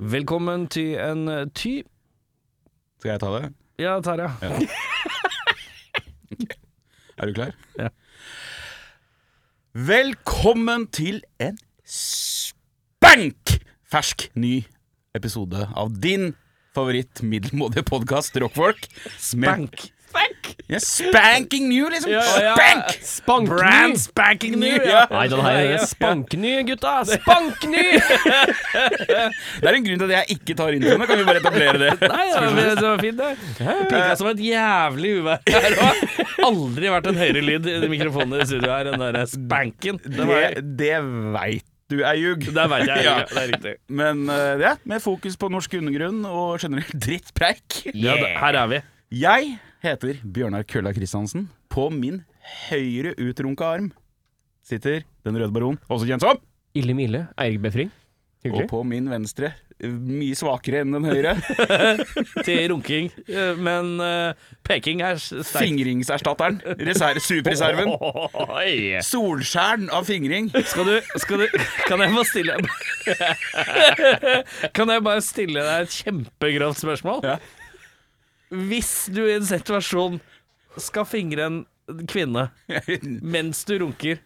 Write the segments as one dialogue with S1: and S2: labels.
S1: Velkommen til en eh, ty.
S2: Skal jeg ta det?
S1: Ja, Tarja.
S2: Er du klar?
S1: Ja.
S2: Velkommen til en spank fersk ny episode av din favoritt middelmådige podkast, Rockfolk. Med-
S1: Bank.
S2: Ja, spanking new, liksom.
S1: Ja, ja.
S2: Spank!
S3: Spankny!
S2: Brand spanking new! Ja.
S3: Nei, den her er
S1: Spankny, gutta! Spankny!
S2: Det er en grunn til at jeg ikke tar introene. Kan vi bare etablere det?
S1: Nei, det var, det var fint, det.
S3: spika som et jævlig uvær her òg. Aldri vært en høyere lyd i de mikrofonene i studio her enn den der spanken. Det, var,
S2: Det, det veit du er ljug.
S3: det vet jeg.
S2: Ja.
S3: Ja. Det er riktig.
S2: Men eh, ja, med fokus på norsk undergrunn og generell drittpreik.
S3: Ja, det, her er vi.
S2: Jeg heter Bjørnar Kølla Kristiansen. På min høyre utrunka arm sitter Den røde baron, også kjent som.
S3: Ille Mille, Eirik Befring.
S2: Og på min venstre, eh, mye svakere enn den høyre,
S3: Til runking, eh, men eh, peking er s- sterkt.
S2: fingringserstatteren. Reserve, superreserven.
S3: Oi.
S2: Solskjæren av fingring.
S1: Skal du, skal du Kan jeg bare stille Kan jeg bare stille deg et kjempegrovt spørsmål?
S2: Ja.
S1: Hvis du i en situasjon skal fingre en kvinne mens du runker,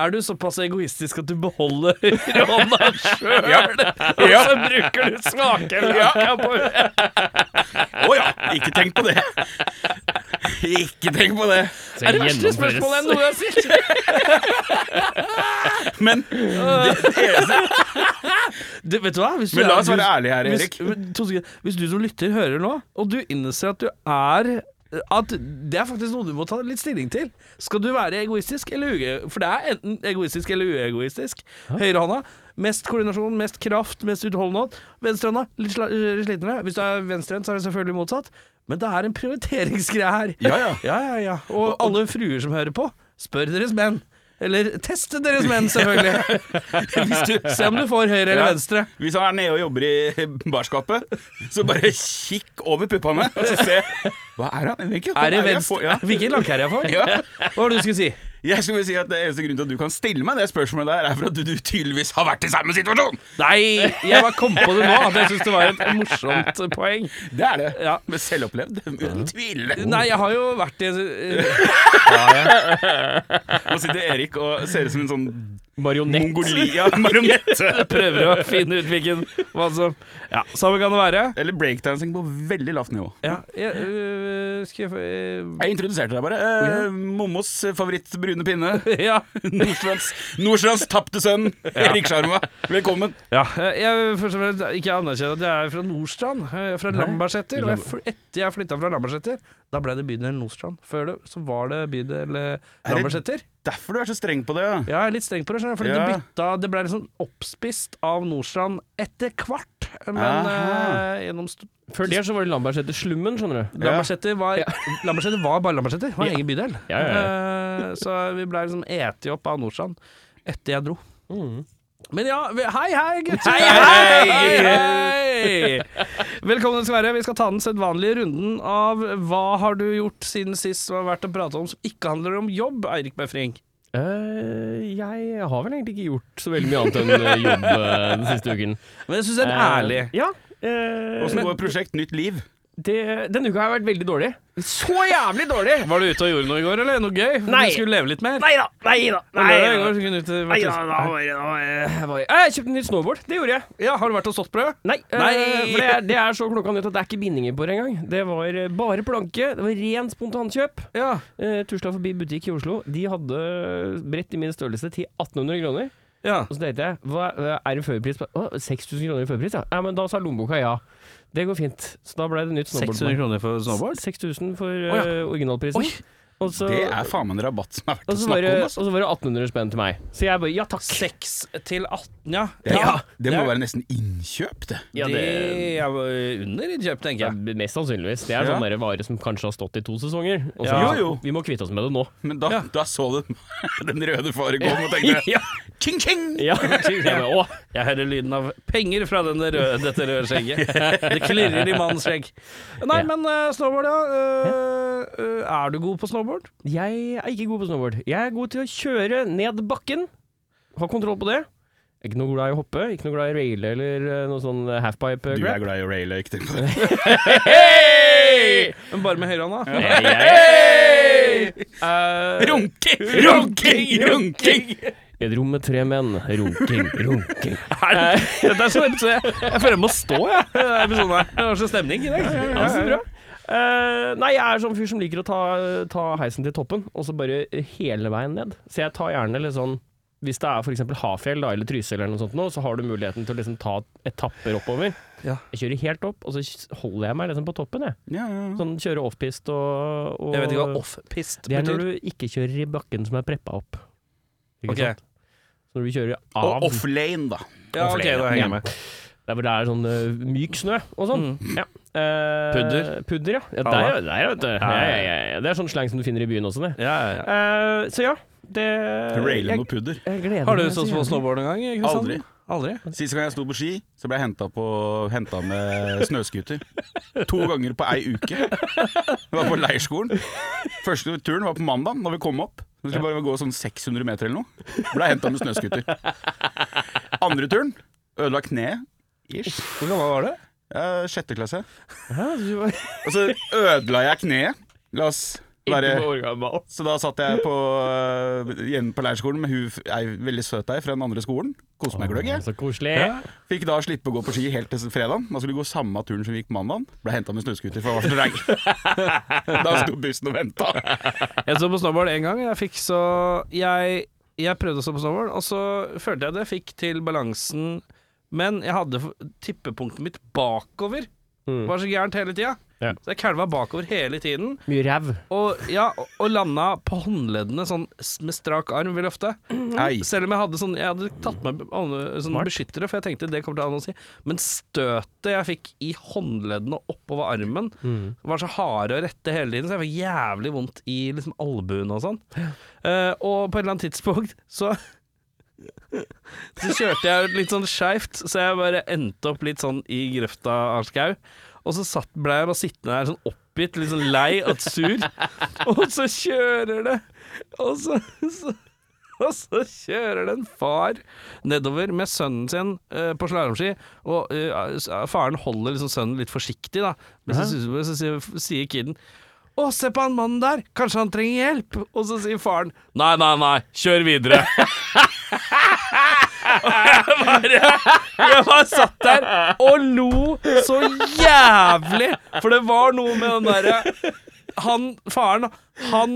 S1: er du såpass egoistisk at du beholder hånda sjøl,
S2: Ja.
S1: og
S2: Ja.
S1: så bruker du smaken på
S2: Å ja, ikke tenk på det. Ikke tenk på det.
S1: Det er det verste spørsmålet jeg noen gang har stilt!
S2: Men det eneste
S1: Du, Vet du hva? Hvis du
S2: Men
S1: er-
S2: la oss være
S1: du-
S2: ærlige her, Erik.
S1: Hvis, men to sekunder. hvis du som lytter hører nå, og du innser at du er at det er faktisk noe du må ta litt stilling til. Skal du være egoistisk eller uge... For det er enten egoistisk eller uegoistisk. Høyrehånda mest koordinasjon, mest kraft, mest utholdenhet. Venstrehånda litt sla- øh, slitnere. Hvis du er venstrehendt, så er det selvfølgelig motsatt. Men det er en prioriteringsgreie her.
S2: Ja, ja.
S1: ja, ja, ja. Og alle fruer som hører på, spør deres menn. Eller test deres menn, selvfølgelig.
S2: Hvis du
S1: Se om du får høyre eller venstre.
S2: Hvis han er nede og jobber i barskapet, så bare kikk over puppene og så se Hva er han? Hvilken hånd
S1: Er det
S2: jeg får?
S1: venstre?
S2: Ja.
S1: Hvilken lakkherre jeg får?
S2: Ja.
S1: Hva var det du skulle si?
S2: Jeg skulle si at Det eneste grunnen til at du kan stille meg det spørsmålet, der er for at du, du tydeligvis har vært i samme situasjon!
S1: Nei, jeg bare kom på det nå. At jeg syns det var et morsomt poeng.
S2: Det er det.
S1: Ja.
S2: Men selvopplevd, uten tvil.
S1: Nei, jeg har jo vært i eh,
S2: Nå sitter Erik og ser ut som en sånn
S3: Marionett.
S2: Mongolia-marionette.
S1: Prøver å finne ut hvilken hva som Ja, samme kan det være.
S2: Eller breakdancing på veldig lavt nivå.
S1: Ja, jeg, øh, skal jeg få øh,
S2: Jeg introduserte deg bare. Eh, Mommos favoritt brune pinne.
S1: ja.
S2: Nordstrands, Nordstrands tapte sønn, Erik Sjarma. Velkommen.
S1: ja. Jeg vil først og fremst ikke anerkjenne at jeg er fra Nordstrand. Jeg er fra Lambertseter. Og jeg, fl- etter jeg flytta fra Lambertseter, da ble det bydel Nordstrand. Før det så var det bydel eh, Lambertseter.
S2: Derfor du er så streng på det. ja.
S1: Ja, jeg er litt streng på det, skjønner du, fordi
S2: Ja.
S1: det bytta Det ble liksom oppspist av Nordstrand etter hvert, men
S2: Aha.
S1: eh, gjennom st-
S3: Før det så var det Lambertseter Slummen, skjønner du.
S1: Lambertseter var, Lambertseter var bare Lambertseter, var en
S3: Ja.
S1: egen bydel.
S3: Ja, ja,
S1: Eh, så vi ble liksom eti opp av Nordstrand etter jeg dro.
S3: Mm.
S1: Men ja, vi, hei hei, gutter!
S2: Hei,
S1: hei, hei! Velkommen skal være. Vi skal ta den sedvanlige runden av hva har du gjort siden sist som har vært å prate om som ikke handler om jobb, Eirik Befring.
S3: Eh, jeg har vel egentlig ikke gjort så veldig mye annet enn eh, jobb eh, den siste uken.
S1: Men jeg syns det er
S3: Eh,
S1: ærlig.
S3: Ja. eh,
S2: Åssen
S3: men
S2: går prosjekt Nytt liv?
S3: det, denne uka har vært veldig dårlig. Så jævlig dårlig!
S1: Var du ute og gjorde noe i går, eller? Noe gøy?
S3: Nei.
S1: Du skulle leve litt mer?
S3: Nei da, nei da.
S1: På lørdag i går så kunne du ikke vært ute.
S3: Jeg kjøpte nytt snowboard. Det gjorde jeg.
S1: Ja, har du vært og stått brød?
S3: Nei, eh,
S1: Nei.
S3: for det er, det er så klokka nytt at det er ikke bindinger på det engang. Det var eh, bare planke. Det var ren spontankjøp.
S1: Ja.
S3: Uh, Tusla forbi butikk i Oslo. De hadde eh, brett i min størrelse til 1800 kroner.
S1: ja.
S3: Og så tenkte jeg, hva er det førpris på? Å, 6000 kroner i førpris, ja. ja. Men da sa lommeboka ja. Det går fint. Så da ble det nytt snowboard.
S1: 600 kroner for snowboard?
S3: 6000 for
S1: ja.
S3: eh, originalprisen.
S1: Oi.
S3: Og så,
S2: Det er faen meg en rabatt som er verdt
S3: og
S2: å
S3: så var
S2: snakke
S3: det,
S2: om.
S3: og
S2: Altså.
S3: så var det 1800 spenn til meg. Så jeg bare ja takk.
S1: 6 til 18, ja.
S2: Det,
S3: Ja,
S2: det må
S3: det er-
S2: være nesten innkjøp, det.
S3: Ja,
S1: det
S3: det,
S1: er jo under innkjøp, tenker
S3: ja,
S1: jeg.
S3: mest sannsynligvis. Det er
S2: Ja.
S3: sånne der varer som kanskje har stått i to sesonger. Og så,
S1: Ja.
S2: Jo, jo.
S3: Vi må kvitte oss med det nå.
S2: Men da,
S1: Ja.
S2: da så du den røde forekommen og tenkte
S3: Ja.
S2: Ching, ching!
S3: Ja, jeg bare, å,
S1: Jeg hører lyden av penger fra denne røde, dette røde skjegget. Det klirrer i mannens skjegg. Nei,
S3: Ja.
S1: men eh, snowboard, ja. Eh, eh, er du god på snowboard?
S3: Jeg er ikke god på snowboard. Jeg er god til å kjøre ned bakken. Ha kontroll på det. Ikke noe glad i å hoppe, ikke noe glad i raile eller eh, noe sånn halfpipe
S2: Du er
S3: grab.
S2: glad i å raile, ikke tenk på det.
S1: Men bare med høyrehånda.
S3: Eh,
S2: Runking, runking, runking!
S3: I et rom med tre menn. Runking, runking. Eh,
S1: Dette er sånn episode Jeg jeg føler jeg må stå, jeg. i denne episoden her. Det var så stemning i dag.
S3: Ja, så bra. Eh, nei, jeg er sånn fyr som liker å ta, ta heisen til toppen, og så bare hele veien ned. Så jeg tar gjerne litt sånn Hvis det er f.eks. Hafjell da, eller Trysil eller noe sånt, nå, så har du muligheten til å liksom ta etapper oppover.
S1: Ja.
S3: Jeg kjører helt opp, og så holder jeg meg liksom på toppen, jeg.
S2: Ja, ja.
S3: Sånn kjører offpist og, og
S1: Jeg vet ikke hva off-pist
S3: Det er når
S1: betyr.
S3: du ikke kjører i bakken som er preppa opp. Ikke
S1: Ok.
S3: sant? Så når du kjører
S2: Og
S3: av
S2: offlane, da.
S1: Ja, ok, da henger jeg med.
S3: Der hvor det er sånn eh, myk snø og sånn. Ja. Eh,
S1: Pudder.
S3: Pudder, ja. ja der,
S1: Halla.
S3: der, vet du. Ja, ja, ja, ja. Det er sånn slang som du finner i byen også, det.
S1: Ja, ja, ja.
S3: Eh, så ja, det
S2: Raile
S3: Eh, jeg,
S2: noe pudder.
S3: jeg gleder
S1: Har du
S3: meg så
S1: stått på
S3: jævlig.
S1: snowboard noen gang? Kristian?
S2: Aldri.
S1: Aldri?
S2: Sist gang jeg sto på ski, så ble jeg henta, på, henta med snøscooter. To ganger på ei uke. Det var på leirskolen. Første turen var på mandag, da vi kom opp. Vi skulle bare gå sånn 600 meter eller noe. Ble henta med snøscooter. Andre turen ødela kneet. Ish.
S1: Hvor gammel var du?
S2: Eh, sjette klasse.
S3: Hæ? Du var ikke
S2: Og så ødela jeg kneet. La oss være
S3: noe år gammel.
S2: Så da satt jeg på, eh, igjen på leirskolen med hun f- ei veldig søt ei fra den andre skolen. Koste meg gløgg, jeg.
S3: Så koselig.
S2: Fikk da slippe å gå på ski helt til fredag. Da skulle vi gå samme turen som vi gikk mandag. Ble henta med snøscooter, for det var så regn. da sto bussen og venta.
S1: Jeg så på snowboard en gang. Jeg fikk så jeg, jeg prøvde å stå på snowboard, og så følte jeg det jeg fikk til balansen, men jeg hadde f- tippepunktet mitt bakover.
S3: Mm.
S1: Var så gærent hele tida.
S3: Ja.
S1: Så jeg kælva bakover hele tiden.
S3: Mye ræv.
S1: Og, ja, og- og landa på håndleddene sånn s- med strak arm ved løftet.
S2: Nei.
S1: Selv om jeg hadde sånn Jeg hadde tatt med hånd- sånn
S3: Smart.
S1: beskyttere, for jeg tenkte det kommer til å ha noe å si. Men støtet jeg fikk i håndleddene og oppover armen,
S3: Mm.
S1: var så harde og rette hele tiden, så jeg fikk jævlig vondt i liksom albuen og sånn. Eh, og på et eller annet tidspunkt så Så kjørte jeg litt sånn skeivt, så jeg bare endte opp litt sånn i grøfta av skau. Og så satt, ble jeg bare sittende der sånn oppgitt, litt sånn lei og sur. Og så kjører det Og så, så og så kjører det en far nedover med sønnen sin eh, på slalåmski, og eh, s- faren holder liksom sønnen litt forsiktig, da. Men så, så, så sier, sier kiden å, se på han mannen der, kanskje han trenger hjelp? Og så sier faren nei, nei, nei, kjør videre. Og jeg bare, jeg bare satt der og lo så jævlig, for det var noe med den derre han, faren, han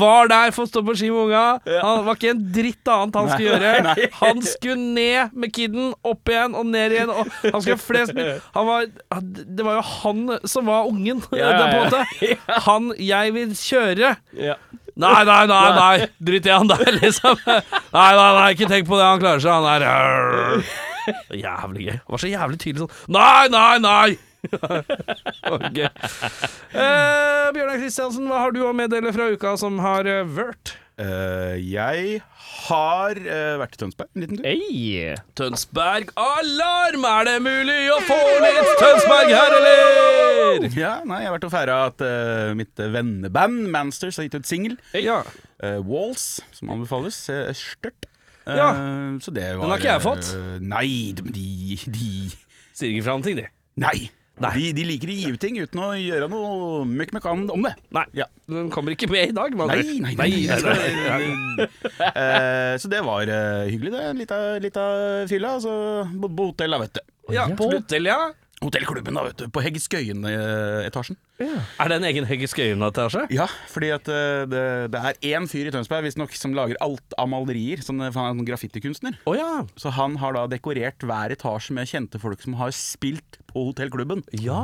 S1: var der for å stå på ski med unga. Han var ikke en dritt annet han skulle gjøre. Han skulle ned med kiden, opp igjen og ned igjen. Og han skulle ha flest mulig han var, Det var jo han som var ungen,
S3: ja,
S1: på en måte. Han jeg vil kjøre.
S3: Ja.
S1: Nei, nei, nei, nei. drit i han der, liksom. Nei, nei, nei, ikke tenk på det, han klarer seg, han der. Så Jævlig gøy. Han var så jævlig tydelig sånn Nei, nei, nei! ok. Eh, Bjørnar Kristiansen, hva har du å meddele fra uka som har eh, vært?
S2: Eh, jeg har eh, vært i Tønsberg en liten tur.
S3: Hey.
S1: Tønsberg alarm! Er det mulig å få litt Tønsberg her, eller?
S2: Ja, nei, jeg har vært og feira at eh, mitt venneband Mansters har gitt ut singel.
S1: Ja.
S2: Eh, Walls, som anbefales. Uh, Størt. Eh,
S1: Ja.
S2: Så det var
S1: Den har ikke jeg fått.
S2: eh, nei, de, de, de
S1: Sier ikke fra om ting, de.
S2: Nei. De, de liker å gi ut ting uten å gjøre noe møkk-møkkan om det.
S1: Nei.
S2: Ja.
S1: Den kommer ikke med i dag, mann.
S2: Nei, nei, nei. jeg skal- Eh, så det var eh, hyggelig, det. Litt av, litt av fylla. Og så bodde på hotell, da, vet du.
S1: Ja, på hotell, ja.
S2: Hotellklubben, da, vet du. På eh, Heggskøyen-etasjen.
S1: Er det en egen Høggeskøyen-etasje?
S2: Ja, fordi at eh, det, det er én fyr i Tønsberg visstnok som lager alt av malerier. Sånn, for han er en graffitikunstner.
S1: Å ja.
S2: Så han har da dekorert hver etasje med kjente folk som har spilt på hotellklubben.
S1: Ja.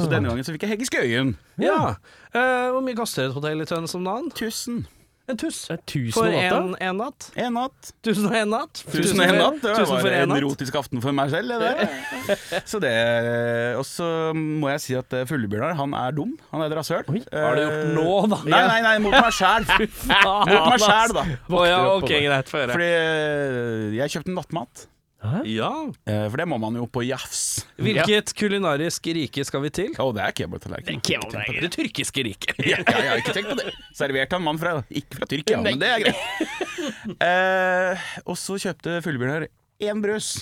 S2: Så denne gangen så fikk jeg Heggeskøyen.
S1: Ja. Eh, hvor mye koster et hotell i Tønnes om dagen?
S2: Tusen.
S1: En tuss.
S3: Det er tusen
S1: Eh, For
S3: og åtte.
S1: en, en natt?
S2: En natt.
S1: Tusen og en natt?
S2: Tusen og en natt, det
S1: tusen
S2: var
S1: for en
S2: en
S1: natt.
S2: erotisk aften for meg selv. det der. Så det Og så må jeg si at eh, Fuglebjørnar, han er dum. Han er et rasshøl. Eh,
S1: Har du gjort nå, da?
S2: Nei, nei, nei, mot meg sjæl. Mot meg sjæl, da.
S1: Å ja,
S3: Våkner opp
S1: ok,
S3: på det.
S1: greit, få høre.
S2: Fordi eh, jeg kjøpte nattmat.
S1: Ja.
S2: Eh, For det må man jo på jafs.
S1: Hvilket kulinarisk rike skal vi til?
S2: Å, det er kebabtallerken.
S1: Det tyrkiske riket.
S2: Ja, ja, ja, ikke tenk på det. Servert av en mann fra Ikke fra Tyrkia, men det er greit. Eh, og så kjøpte Fuglebjørnar én brøs.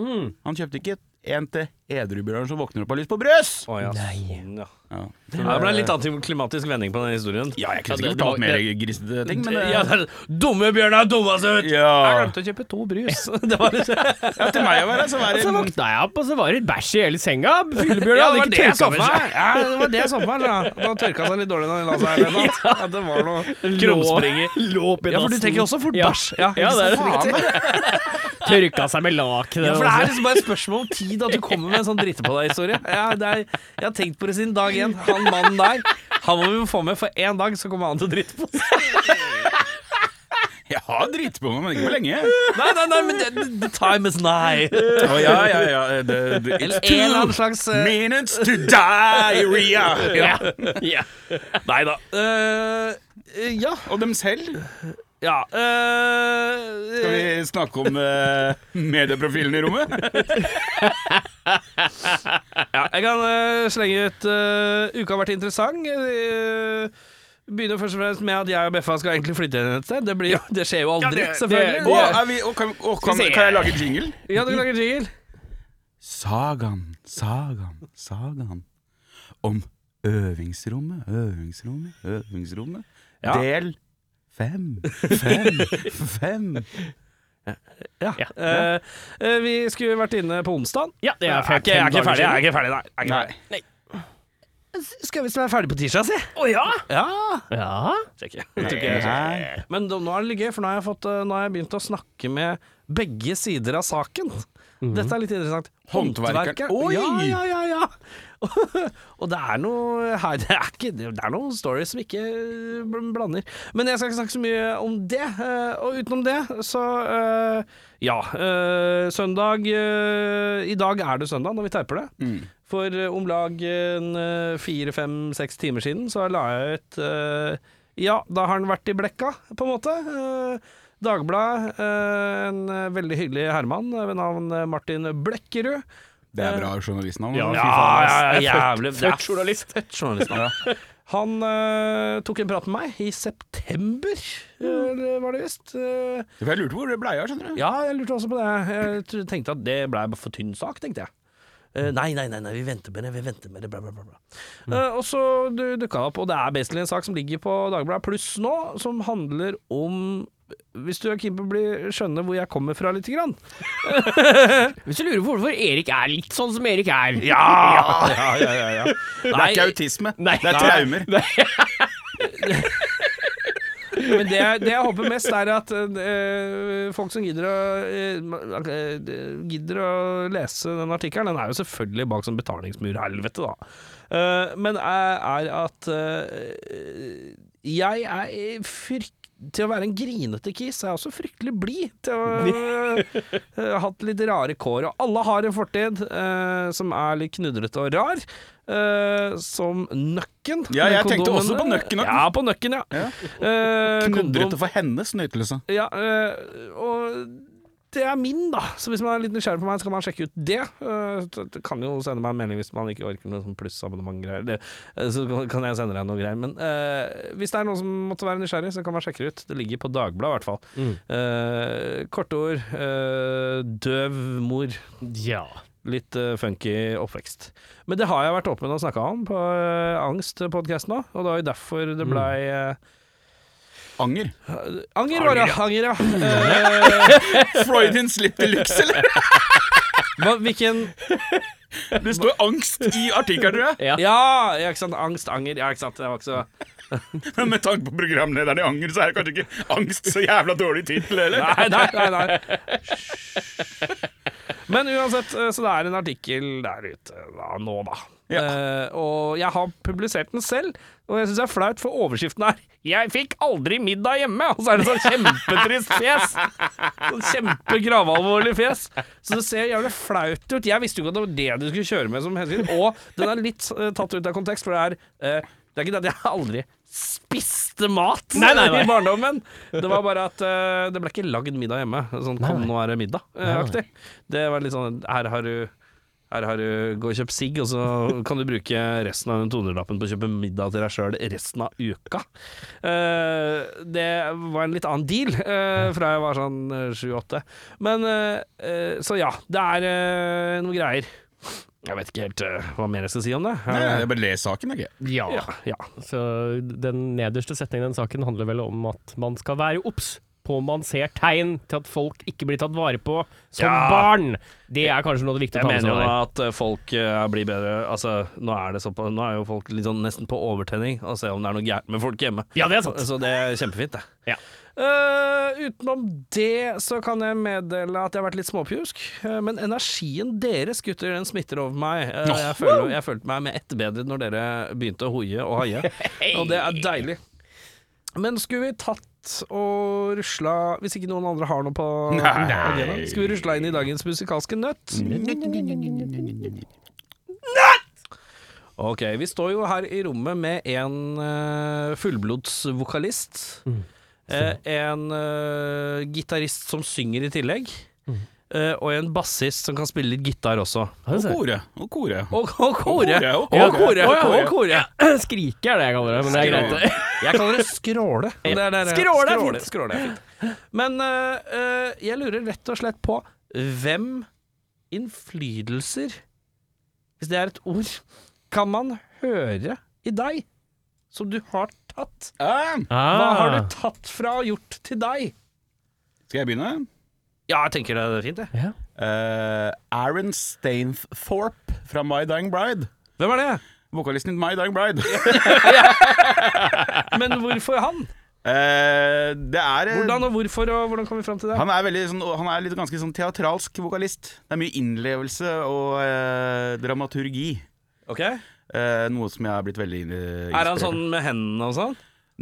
S2: Han kjøpte ikke en til edrubjørn som våkner opp og har lyst på brøs!
S4: Å, ja, sånn, ja.
S2: Ja.
S4: Ja, det ble litt antiklimatisk vending på den historien.
S2: Ja, jeg kunne
S3: Ja, det-
S2: sikkert fortalt
S3: det-
S2: mer grisete ting, men eh,
S4: Ja, det er, dumme Bjørnar dumma seg ut! Jeg
S2: ja.
S4: glemte å kjøpe to brus. Det var litt
S2: ja, til meg å være, så var
S3: Så
S2: det
S3: våkna jeg opp, og så var det bæsj i hele senga. Fyllebjørn
S1: Ja, det
S3: hadde
S1: var
S3: ikke
S1: det jeg så
S3: tørka
S1: for
S3: med seg.
S1: meg. Ja, det var det jeg så for meg. da. At han tørka seg litt dårlig da han la seg her. eller noe. At det var noe krumspringer.
S3: Lå oppi
S1: Ja, for du
S3: dassen.
S1: tenker også fort
S3: Ja.
S1: bæsj. Ja,
S3: Ja, det er det.
S1: Faen, da.
S3: Tørka seg med lakenet.
S1: Ja, for det
S3: også.
S1: er liksom bare et spørsmål om tid at du kommer med en sånn drite på deg-historie. Ja, det er- jeg har tenkt på det siden dag én. Han mannen der, han må vi få med, for én dag så kommer han til å drite på seg.
S2: Jeg har dritt på meg, men ikke for lenge.
S1: Nei, nei, nei, men det- the time is nigh.
S2: Å, ja, ja, ja. Eh, Det, det,
S1: Eller
S2: it's
S1: en eller annen
S2: two
S1: slags eh,
S2: minutes to diarrhea!
S1: Nei da. Eh, eh, ja.
S2: Og dem selv.
S1: ja. eh,
S2: Skal vi snakke om eh, medieprofilen i rommet?
S1: Ja, jeg kan eh, slenge ut eh, Uka har vært interessant. Eh, begynner først og fremst med at jeg og Beffa skal egentlig flytte inn et sted. Det, blir, jo- det skjer jo aldri,
S3: det-
S1: selvfølgelig.
S2: Å,
S3: det-
S2: er vi, å, kan, å, kan, kan jeg lage jingle?
S1: ja, du lager jingle.
S2: Sagaen, sagaen, sagaen om øvingsrommet, øvingsrommet, øvingsrommet. Del fem, fem, fem.
S1: Ja. Eh, eh, vi skulle vært inne på onsdag.
S3: Ja, det er fem,
S1: jeg, er ikke
S3: fem dager
S1: ferdig, jeg er
S3: siden.
S1: ikke ferdig, nei. Jeg er ikke
S2: Nei.
S1: ferdig. Skal visst være ferdig på tirsdag, si.
S3: Å ja?
S1: Ja.
S3: Ja.
S1: Sjekk. Jeg tror ikke- Men da- nå er det litt gøy, for nå har jeg, fått, eh, nå har jeg begynt å snakke med begge sider av saken. Dette er litt interessant.
S2: Håndverker. Oi!
S1: Ja, ja, ja, ja. og det er noe her, det er, ikke, det er noen stories som ikke bl- blander. Men jeg skal ikke snakke så mye om det. eh, Og utenom det, så eh, Ja. eh, Søndag eh, I dag er det søndag når vi teiper det. For eh, om lag en, eh, fire, fem, seks timer siden så la jeg ut eh, Ja, da har han vært i blekka, på en måte. Eh, Dagbladet, eh, en eh, veldig hyggelig herremann eh, ved navn eh, Martin Blekkerud.
S2: Det er bra journalistnavn.
S3: Ja,
S2: da.
S3: fy faen, ass.
S1: ja, ja,
S3: Jeg er født-
S1: jævlig- det er
S3: Født journalist.
S1: Fett journalist, mann. Han eh, tok en prat med meg i september,
S3: Mm.
S1: eh, var det visst. Eh,
S2: For jeg lurte på hvor det bleia, skjønner du.
S1: ja, jeg lurte også på det. Jeg tr- tenkte at det ble for tynn sak, tenkte jeg.
S3: Mm.
S1: Eh, nei, nei, nei, nei, vi venter med det, vi venter med det, bla, bla, bla. bla. Eh, og så du- dukka det opp, og det er basically en sak som ligger på Dagbladet Pluss nå, som handler om hvis du er keen på å bli, skjønne hvor jeg kommer fra lite grann.
S3: Hvis du lurer på hvorfor Erik er litt sånn som Erik er
S1: Ja! ja, ja, ja, ja.
S2: Det er ikke
S1: Nei,
S2: autisme,
S3: Nei.
S2: det er traumer.
S1: men det, jeg- det jeg håper mest er at eh, folk som gidder å, eh, ma- eh, gidder å lese den artikkelen, den er jo selvfølgelig bak som betalingsmur-helvete, da. Eh, men er, er at eh, jeg er frykt til å være en grinete kis er jeg også fryktelig blid. Til å ha hatt litt rare kår. Og alle har en fortid eh, som er litt knudrete og rar. eh, som nøkken.
S2: Ja, jeg
S1: Med
S2: tenkte også på
S1: kondomene.
S2: nøkken, ja.
S1: Ja, på nøkken, ja.
S2: Ja.
S1: Eh, kondom-
S2: Knudrete for hennes nytelse.
S1: ja, øh, og det er min, da. Så hvis man er litt nysgjerrig på meg, så kan man sjekke ut det. Øh, det- det kan jo sende meg en melding hvis man ikke orker noe sånn plussabonnement-greier. Det- øh, Så kan jeg sende deg noe greier. Men øh, hvis det er noen som måtte være nysgjerrig, så kan man sjekke det ut. Det ligger på Dagbladet, i hvert fall. Eh, korte ord. øh, døv mor.
S3: Ja.
S1: Litt eh, funky oppvekst. Men det har jeg vært åpen og snakka om på uh, Angst-podkasten òg, og det var jo derfor det blei eh,
S2: Anger.
S1: Anger, var det. Anger, ja. Eh,
S2: Freudian slip de luxe, eller?
S1: hva, hvilken
S2: Det står angst i artikkelen, tror jeg.
S1: Ja, ja, ikke sant. Angst, anger. Ja, ikke sant. Det var ikke så
S2: Men med tanke på programlederen i Anger, så er kanskje ikke angst så jævla dårlig tittel, eller?
S1: Nei, nei, nei. nei. Men uansett, eh, så det er en artikkel der ute da, nå, da. Eh, og jeg har publisert den selv, og jeg syns det er flaut, for overskriften er 'Jeg fikk aldri middag hjemme', og så er det sånn kjempetrist fjes. Sånn Kjempegravalvorlig fjes. Så det ser jævlig flaut ut. Jeg visste jo ikke at det var det du skulle kjøre med som hensikt, og den er litt eh, tatt ut av kontekst, for det er eh, det er ikke det at jeg aldri spiste mat
S3: Nei, nei, nei.
S1: i barndommen. Det var bare at eh, det ble eh, ikke lagd middag hjemme. Sånn 'kom, nå er det middag'-aktig. Det var litt sånn 'her har du Her har du Gå og kjøp sigg, og så kan du bruke resten av den 200-lappen på å kjøpe middag til deg sjøl resten av uka. Eh, det var en litt annen deal eh, fra jeg var sånn sju-åtte. Men eh, eh, Så ja, det er eh, noen greier. Jeg vet ikke helt eh, hva mer jeg skal si om det.
S2: Nei, nei, jeg bare les saken, jeg.
S3: Ja.
S1: ja, ja.
S3: Så den nederste setningen i den saken handler vel om at man skal være obs på om man ser tegn til at folk ikke blir tatt vare på som
S1: Ja.
S3: barn. Det er kanskje noe av det viktige
S1: Jeg
S3: å ta med
S1: mener
S3: seg
S1: jo
S3: der.
S1: at eh, folk eh, blir bedre Altså, nå er, det såpass- nå er jo folk litt sånn nesten på overtenning og se om det er noe gærent med folk hjemme.
S3: Ja, det er
S1: Så,
S3: sant.
S1: så det er kjempefint, det.
S3: Ja.
S1: Eh, utenom det så kan jeg meddele at jeg har vært litt småpjusk, eh, men energien deres, gutter, den smitter over meg. Eh, jeg, føler, jeg følte meg med ett bedre når dere begynte å hoie og haie, og det er deilig. Men skulle vi tatt og rusla Hvis ikke noen andre har noe på
S2: Nei.
S1: Skulle vi rusla inn i dagens musikalske nøtt? Ok, vi står jo her i rommet med en eh, fullblodsvokalist. eh, en eh, gitarist som synger i tillegg. eh, og en bassist som kan spille litt gitar også.
S2: Og kore. Og kore.
S1: Og, og kore!
S2: Og
S1: Og
S2: kore,
S1: kore!
S2: og kore,
S1: og
S2: og
S1: kore.
S3: Skrike er det jeg kaller det, men det er greit. det.
S1: Jeg kaller det skråle. Det er det-
S3: Skråle er fint.
S1: skråle er fint. Men eh, eh, jeg lurer rett og slett på hvem innflytelser, hvis det er et ord, kan man høre i deg som du har tatt?
S2: Ah,
S1: Hva har du tatt fra og gjort til deg?
S2: skal jeg begynne?
S1: Ja, jeg tenker det er fint, jeg.
S2: Eh, Aaron Stainthorpe fra My Dying Bride.
S1: Hvem er det?
S2: Vokalisten i My Dying Bride.
S1: Men hvorfor han?
S2: Eh, det er eh,
S1: Hvordan og hvorfor, og hvordan kom vi fram til det?
S2: Han er, veldig, sånn, han er litt, ganske sånn teatralsk vokalist. Det er mye innlevelse og eh, dramaturgi.
S1: Ok Er
S2: Eh, noe som jeg er blitt veldig eh,
S1: han
S2: inspirert av.
S1: sånn med hendene og sånn?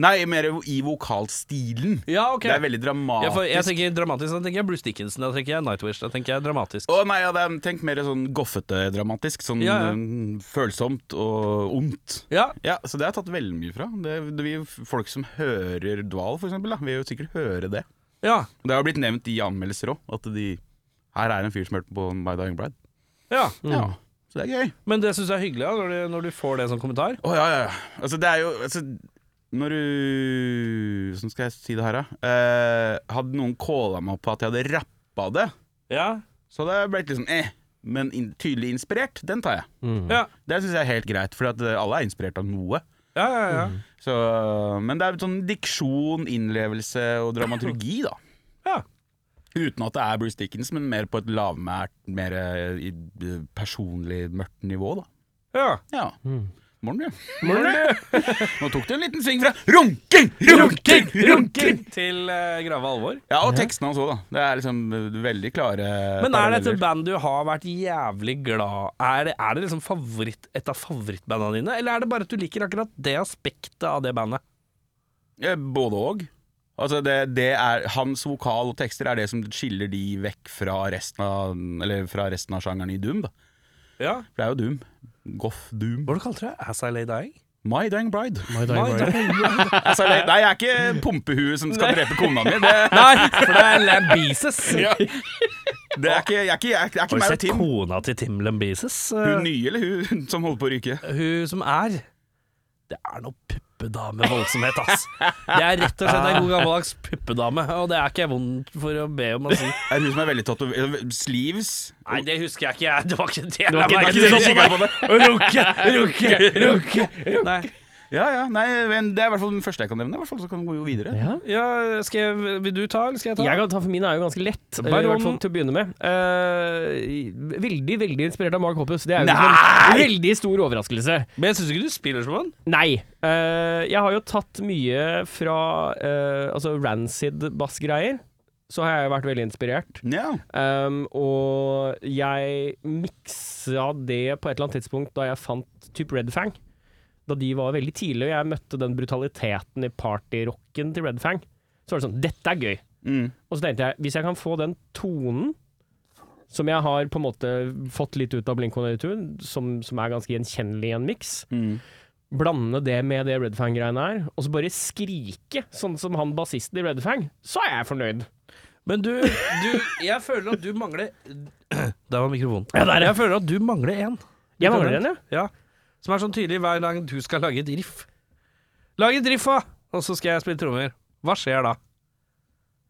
S2: Nei, mer i vokalstilen.
S1: Ja, ok.
S2: Det er veldig
S1: Ja, for
S2: dramatisk.
S1: jeg tenker dramatisk, da tenker jeg Bruce Dickinson, da tenker jeg Nightwish, da tenker jeg dramatisk.
S2: Å nei, ja, det er, Tenk mer sånn goffete dramatisk. Sånn
S1: Ja, ja.
S2: mm, følsomt og ondt.
S1: Ja,
S2: Ja, Så det har jeg tatt veldig mye fra. Det, det vil, folk som hører Dval, for eksempel, da, vil jo sikkert høre det.
S1: ja,
S2: Det har jo blitt nevnt i anmeldelser òg, at de Her er en fyr som hørte på My Dying Bride.
S1: Mm. ja.
S2: Ja, så det er gøy.
S1: Men det syns jeg er hyggelig, da, når du, når du får det som kommentar.
S2: Å ja, ja, ja. Altså, det er jo altså, Når du Hvordan skal jeg si det her, da? Eh, hadde noen calla meg på at jeg hadde rappa det,
S1: Ja,
S2: så hadde jeg blitt litt sånn eh. Men in, tydelig inspirert, den tar jeg.
S1: ja,
S2: Det syns jeg er helt greit, for at eh, alle er inspirert av noe.
S1: ja. ja, ja.
S2: Så, men det er sånn diksjon, innlevelse og dramaturgi, da.
S1: Ja.
S2: Uten at det er Bruce Dickens, men mer på et lavmælt, mer eh, i, eh, personlig mørkt nivå, da.
S1: ja.
S2: Ja.
S1: Mm.
S2: Morn, du. Nå tok du en liten sving fra runking, runking, runking!
S1: Til eh, grave alvor.
S2: Ja, og tekstene hans òg, da. Det er liksom eh, veldig klare
S1: Men er dette
S2: paralleller.
S1: band du har vært jævlig glad Er det, er det liksom favoritt, et av favorittbandene dine, eller er det bare at du liker akkurat det aspektet av det bandet?
S2: Eh, Både òg. Altså det, det er, hans vokal og tekster er det som skiller de vekk fra resten av, eller fra resten av sjangeren i Doom. da
S1: Ja.
S2: For det er jo Doom. Goff Doom.
S1: Hva du kalte du det? As I Lay Dying?
S2: My Dying Bride.
S1: Nei,
S2: Altså, det, nei, jeg er ikke pumpehue som skal drepe kona mi. Det,
S1: Nei, for det er Lambesis.
S2: det er ikke, jeg er ikke, jeg er ikke, jeg er ikke
S1: Har du
S2: meg og
S1: sett
S2: Tim.
S1: kona til Tim Lambesis?
S2: Hun nye eller hun som holder på å ryke?
S1: hun som er Det er noe puppedamevoldsomhet, ass. Det er rett og slett en god gammeldags puppedame, og det er ikke jeg vond for å be om å si.
S2: Er hun som er veldig tatovert? Sleeves?
S1: Nei, det husker jeg ikke. jeg. Det var ikke det.
S3: var ikke-
S1: jeg
S3: det var
S1: merket.
S2: ikke det du
S1: Runke, runke, runke. Nei.
S2: Ja, ja, nei, men Det er i hvert fall den første jeg kan nevne. I hvert fall så kan vi gå videre.
S3: Ja.
S1: Ja, skal jeg, vil du ta, eller skal jeg ta?
S3: Jeg kan ta for min er jo ganske lett, eller i
S1: Baron-
S3: hvert fall til å begynne med. Eh, veldig, veldig inspirert av Mark Hoppus. Det er jo liksom en
S2: Nei!
S3: veldig stor overraskelse.
S1: Men jeg syns ikke du spiller som han.
S3: Nei. Eh, jeg har jo tatt mye fra eh, altså rancid-bassgreier. Så har jeg vært veldig inspirert.
S2: Ja.
S3: Um, og jeg miksa det på et eller annet tidspunkt da jeg fant typ Red Fang. Da de var veldig tidlig, og jeg møtte den brutaliteten i partyrocken til Red Fang. Så var det sånn Dette er gøy.
S2: Mm.
S3: Og så tenkte jeg, hvis jeg kan få den tonen som jeg har på en måte fått litt ut av Blink-182, som, som er ganske gjenkjennelig i en miks,
S2: Mm.
S3: blande det med det Red Fang-greiene er, og så bare skrike sånn som han bassisten i Red Fang, så er jeg fornøyd.
S1: Men du, du Jeg føler at du mangler Der var mikrofonen. Jeg føler at du mangler en.
S3: Jeg mangler en, ja.
S1: Ja. Som er sånn tydelig hver gang du skal lage et riff. Lag et riff, da! Og så skal jeg spille trommer. Hva skjer da?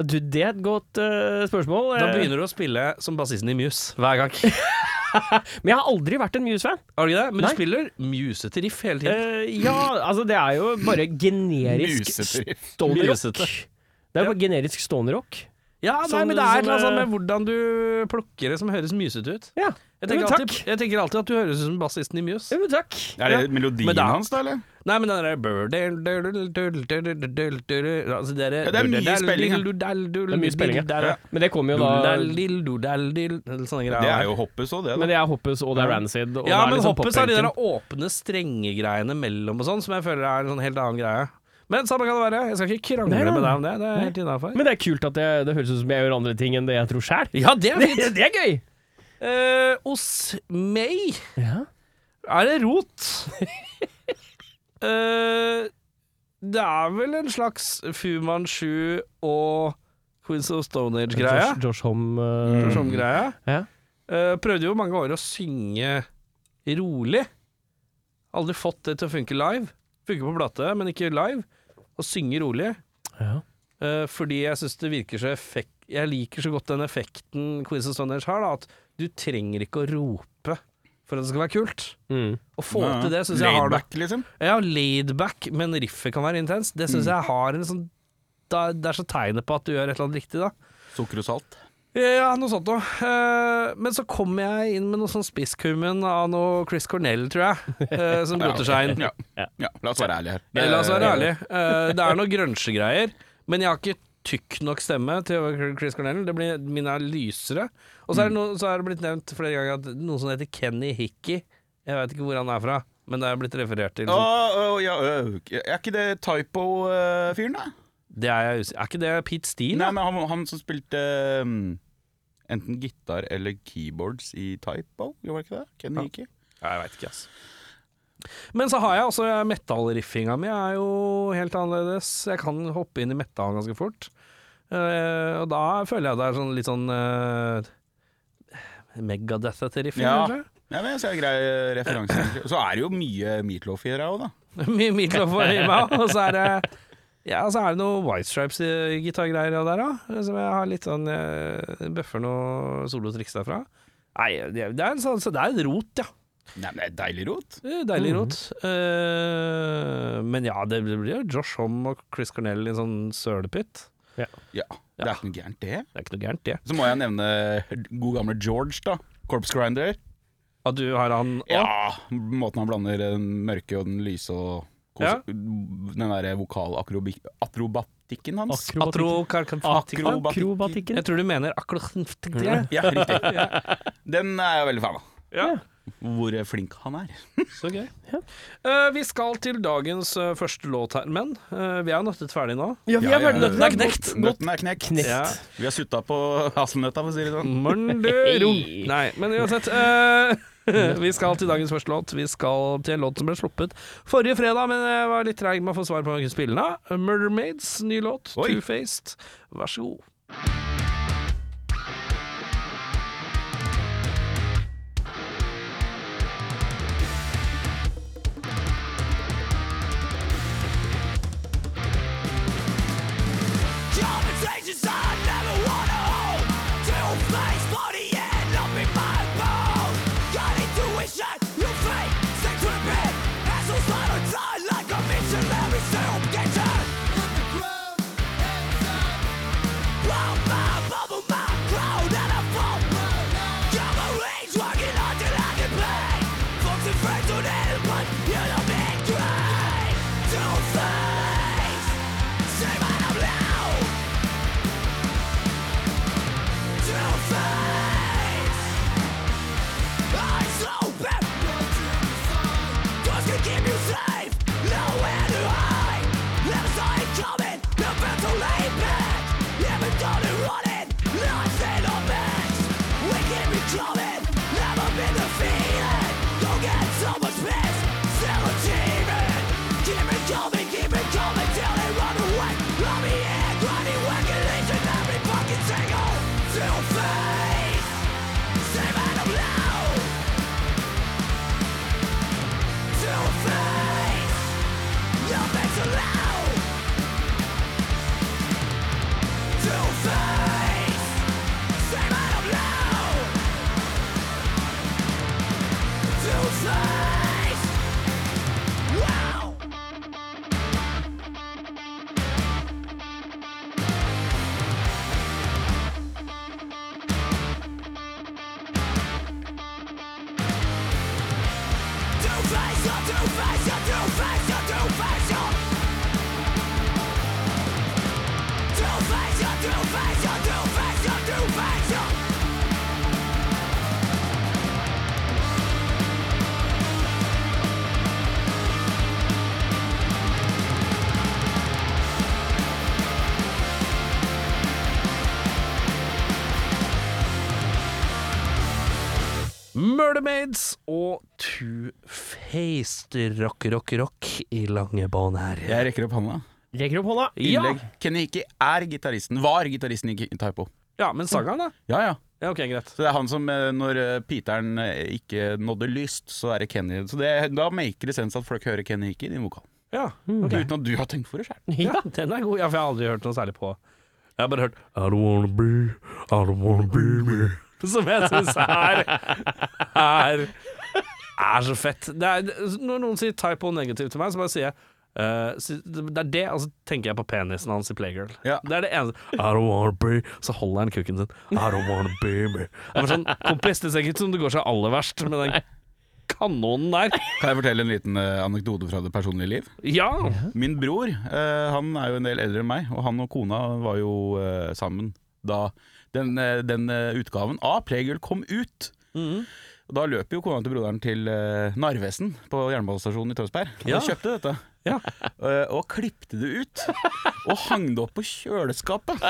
S3: Du, det er et godt eh, spørsmål.
S1: Da
S3: Eh,
S1: begynner du å spille som bassisten i Muse hver gang.
S3: Eh, Men jeg har aldri vært en Muse-fan.
S1: Har du ikke det? Men
S3: Nei.
S1: du spiller musete riff hele tiden.
S3: Eh, ja, altså det er jo bare generisk
S2: Musete riff.
S3: stonerrock.
S1: Musete.
S3: Det er jo bare generisk stonerrock.
S1: Ja, nei,
S3: Som-
S1: men det er et
S3: som,
S1: eller annet sånn med
S3: eh,
S1: hvordan du plukker det som høres musete ut.
S3: Ja.
S1: Jeg
S3: Jo, men
S1: tenker,
S3: takk.
S1: alltid, jeg tenker alltid at du høres ut som bassisten i Muse.
S3: Jo, men takk.
S2: Er det melodien
S1: Men da-
S2: hans, da, eller?
S1: Nei, men den derre altså Det
S2: Ja, det er mye spilling, ja.
S1: Det
S3: er mye spilling, ja. Men det kommer jo da
S1: Sånne greier.
S2: Det er jo hoppes òg, det.
S3: Men
S2: Da.
S3: det er Hoppes og det er Rancid. Og
S1: Ja,
S3: det er
S1: men
S3: liksom
S1: hoppes er de der
S3: pop-punken.
S1: åpne strengegreiene mellom og sånn, som jeg føler er en sånn helt annen greie. Men samme kan det være. Jeg skal ikke krangle
S3: Nei, nei.
S1: med deg om det. Det er helt innafor.
S3: Men det er kult at det, det høres ut som jeg gjør andre ting enn det jeg tror sjæl.
S1: Ja, det er
S3: Det,
S1: fint.
S3: det er gøy!
S1: Eh, hos meg
S3: Ja.
S1: er det rot. Eh, det er vel en slags Fu Manchu og Queens of Stone Age-greie.
S3: Josh, Josh Homme eh,
S1: Mm. Josh Homme-greie.
S3: Ja.
S1: Eh, prøvde jo mange år å synge rolig. Aldri fått det til å funke live. Funker på plate, men ikke live. Å synge rolig.
S3: Ja.
S1: Eh, fordi jeg syns det virker så effekt... Jeg liker så godt den effekten Quiz of Stone Age har, da, at du trenger ikke å rope for at det skal være kult.
S3: Mm.
S1: Å få til det syns jeg
S2: Laid
S1: har det.
S2: back, liksom.
S1: Jeg har laidback, men riffet kan være intenst. Det syns jeg har en sånn da, Det er så tegnet på at du gjør et eller annet riktig, da.
S2: Sukker og salt.
S1: Ja, noe sånt noe. Eh, Men så kom jeg inn med noe sånn spisskummen av noe Chris Cornell, tror jeg, eh, som roter seg inn.
S2: Ja. ja, la oss være ærlige her.
S1: Eh, La oss være ærlige. Eh, Det er noe grønsjegreier, men jeg har ikke tykk nok stemme til å være Chris Cornell. Det blir, min er lysere. Og så
S2: Mm.
S1: er, det noe, så er det blitt nevnt flere ganger at noen som heter Kenny Hickey Jeg vet ikke hvor han er fra, men det er blitt referert til.
S2: Å,
S1: Liksom.
S2: å, ja, ø, er ikke det Typo-fyren, da?
S1: Det er, jeg usikker- er ikke det Pete Steele?
S2: Nei,
S1: da?
S2: men han, han som spilte um, enten gitar eller keyboards i Typo, gjorde han ikke det? Kenny Hickey?
S1: Jeg veit ikke, altså. Men så har jeg også metallriffinga mi er jo helt annerledes. Jeg kan hoppe inn i metal ganske fort. Eh, og da føler jeg det er sånn litt sånn eh, Megadeth etter riffing,
S2: Ja.
S1: kanskje?
S2: Ja, men jeg ser grei eh, referanse. egentlig. Og så er det jo mye meatloaf i det òg, da.
S1: Mye Meatloaf i meg, og så er det ja, og så er det noe White Stripes-gitargreier der òg, som jeg har litt sånn eh, Bøffer noe solotriks derfra. Nei, det det er en sånn, så det er et rot, ja.
S2: Nei, men det er deilig rot.
S1: Det er Deilig
S2: Mm.
S1: rot. Eh, men ja, det blir jo Josh Homme og Chris Cornell i en sånn sølepytt.
S2: Ja, det er ikke noe gærent, det.
S1: Det er ikke noe gærent, det.
S2: Så må jeg nevne god gamle George, da. Corpse Grinder.
S1: At du har han
S2: Ja, måten han blander den mørke og den lyse og kos
S1: Ja.
S2: Den derre vokalakrobatikken hans.
S3: Akrobatikk.
S1: Akro...
S3: Akrobatikken.
S1: Jeg tror du mener akrobatikk.
S2: ja, riktig. Den er jeg veldig fan av.
S1: Ja.
S2: Hvor flink han er.
S1: Så gøy. Eh, vi skal til dagens eh, første låt her, men eh, vi er jo nøttet ferdig nå.
S3: Ja, vi er ferdig. Nøtten er knekt.
S2: Nøtten er knekt.
S3: Knekt.
S1: Ja.
S2: Vi har sutta på hasselnøtta, for å si det sånn.
S1: Mørndøro. Nei, men uansett. eh, vi skal til dagens første låt. Vi skal til en låt som ble sluppet forrige fredag, men jeg var litt treig med å få svar på hva jeg kunne spille den av. Murdermaids, ny låt.
S2: Oi.
S1: Two-Faced. Vær så god.
S5: Conversations I never wanna hold Two-faced body end up in my bone Got intuition, you fake, sex repeat Assholes on a time like a missionary soup kitchen Blow my bubble, my cloud and I fall Cavalry's working hard till I can play Folks and friends don't help, but you don't mean great Two-faced, save my blow to face. I slow back. Cause you keep you safe. Nowhere to hide. Never saw it coming. The battle lay back. Never thought it running. Lies in our backs. We keep it coming. Never been defeated. Don't get so much peace. Still achieving. Keep it coming. Keep it face, your two face, your two face, your two face, your two face, your two face, your two face, your two face, your
S1: Murdermaids og Two Faced rock, rock, rock i lange bånd her.
S2: Jeg rekker opp hånda.
S3: Rekker opp hånda.
S2: Innlegg. Kenny Hickey er gitaristen. Var gitaristen i Ki- Typo.
S1: Ja, men sangeren, da?
S2: Ja, ja.
S1: Ja, ok, greit.
S2: Så det er han som, eh, når eh, piteren eh, ikke nådde lyst, så er det Kenny. Så det, da maker det sens at folk hører Kenny Hickey i din vokal.
S1: Ja,
S2: Uten at du har tenkt for det sjøl.
S1: ja, den er god. Ja, for jeg har aldri hørt noe særlig på Jeg har bare hørt I don't wanna be, I don't wanna be me. Som jeg syns er Er Er så fett. Det er, når noen sier typo negativ til meg, så bare sier jeg eh, si- det er det, altså tenker jeg på penisen hans i Playgirl.
S2: Ja.
S1: Det er det eneste. I don't wanna be Så holder han kukken sin. I don't wanna be me. Det er bare sånn kompis, det ser ikke ut som det går seg aller verst med den kanonen der.
S2: Kan jeg fortelle en liten eh, anekdote fra det personlige liv?
S1: Ja!
S2: Min bror eh, han er jo en del eldre enn meg, og han og kona var jo eh, sammen da den, eh, den eh, utgaven av Playgirl kom ut.
S1: Mm.
S2: Og Da løp jo kona til broderen til eh, Narvesen på jernbanestasjonen i Tønsberg og
S1: Ja.
S2: kjøpte dette.
S1: Ja.
S2: Eh, og klipte det ut og hang det opp på kjøleskapet.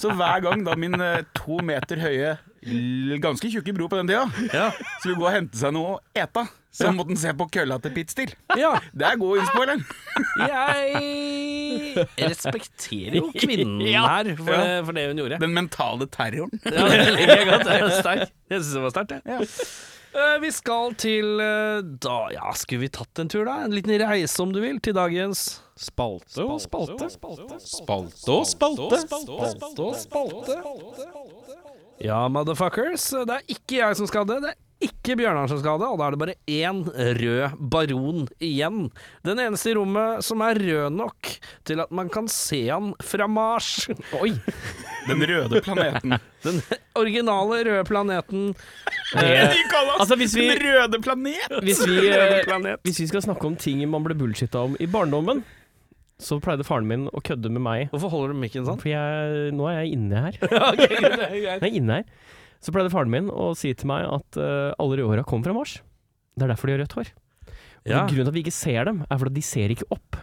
S2: Så hver gang da min eh, to meter høye, l- ganske tjukke bror på den tida skulle gå og hente seg noe å ete, så måtte han se på kølla til Pete Steele.
S1: ja.
S2: Det er god innspill, eller?
S1: Jeg respekterer jo kvinnen her for, det, for det hun gjorde.
S2: Den mentale terroren.
S1: Ja, det liker jeg godt. Det er sterkt. Jeg syns det var sterkt, jeg.
S2: Ja.
S1: Eh, Vi skal til eh, da Ja, skulle vi tatt en tur, da? En liten reise, om du vil, til dagens
S4: Spalte og
S3: spalte.
S4: Spalte og spalte. Spalte og spalte.
S1: Ja, motherfuckers. Det er ikke jeg som skal det. Det er ikke Bjørnar som skal det, og da er det bare én rød baron igjen. Den eneste i rommet som er rød nok til at man kan se han fra Mars. Oi!
S2: Den røde planeten.
S1: Den originale røde planeten.
S3: Eh, altså, hvis vi,
S2: røde planet!
S3: hvis, vi, eh, hvis vi skal snakke om ting man ble bullshitta om i barndommen, så pleide faren min å kødde med meg.
S1: Hvorfor holder du mikken sånn?
S3: For jeg, nå er jeg inne her.
S1: ja,
S3: Nei, inne her. Så pleide faren min å si til meg at eh, alle rødhåra kom fra Mars. Det er derfor de har rødt hår. Og Grunnen til at vi ikke ser dem, er fordi de ser ikke opp.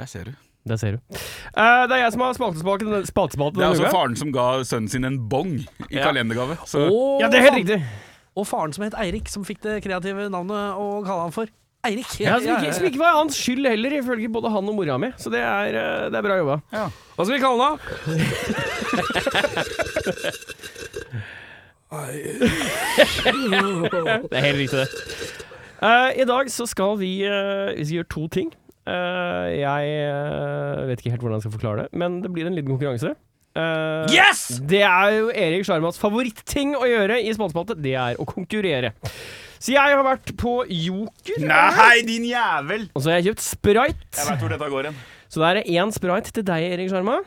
S2: Der ser du.
S3: Det ser du. Eh, det er jeg som har spaltespaken. Spaltespaken
S2: Det er altså
S3: denne uka.
S2: faren som ga sønnen sin en bong i
S1: Ja.
S2: kalendergave. Så
S1: og,
S3: Ja, det er helt riktig.
S1: og faren som het Eirik, som fikk det kreative navnet å kalle han for Eirik.
S3: Ja, som, ikke, som ikke var hans skyld heller, ifølge både han og mora mi. Så det er, eh, det er bra jobba.
S1: Hva skal vi kalle han da?
S3: Det er helt riktig, det. Eh, I dag så skal vi, eh, vi skal gjøre to ting. Eh, jeg eh, vet ikke helt hvordan jeg skal forklare det, men det blir en liten konkurranse. Eh,
S1: Yes!
S3: Det er jo Erik Sjarmas favoritting å gjøre i Spaltespalte, det er å konkurrere. Så jeg har vært på Joker,
S2: Nei, din jævel!
S3: og så har jeg kjøpt sprite.
S2: Jeg veit hvor dette går hen.
S3: Så da er det én sprite til deg, Erik Sjarma.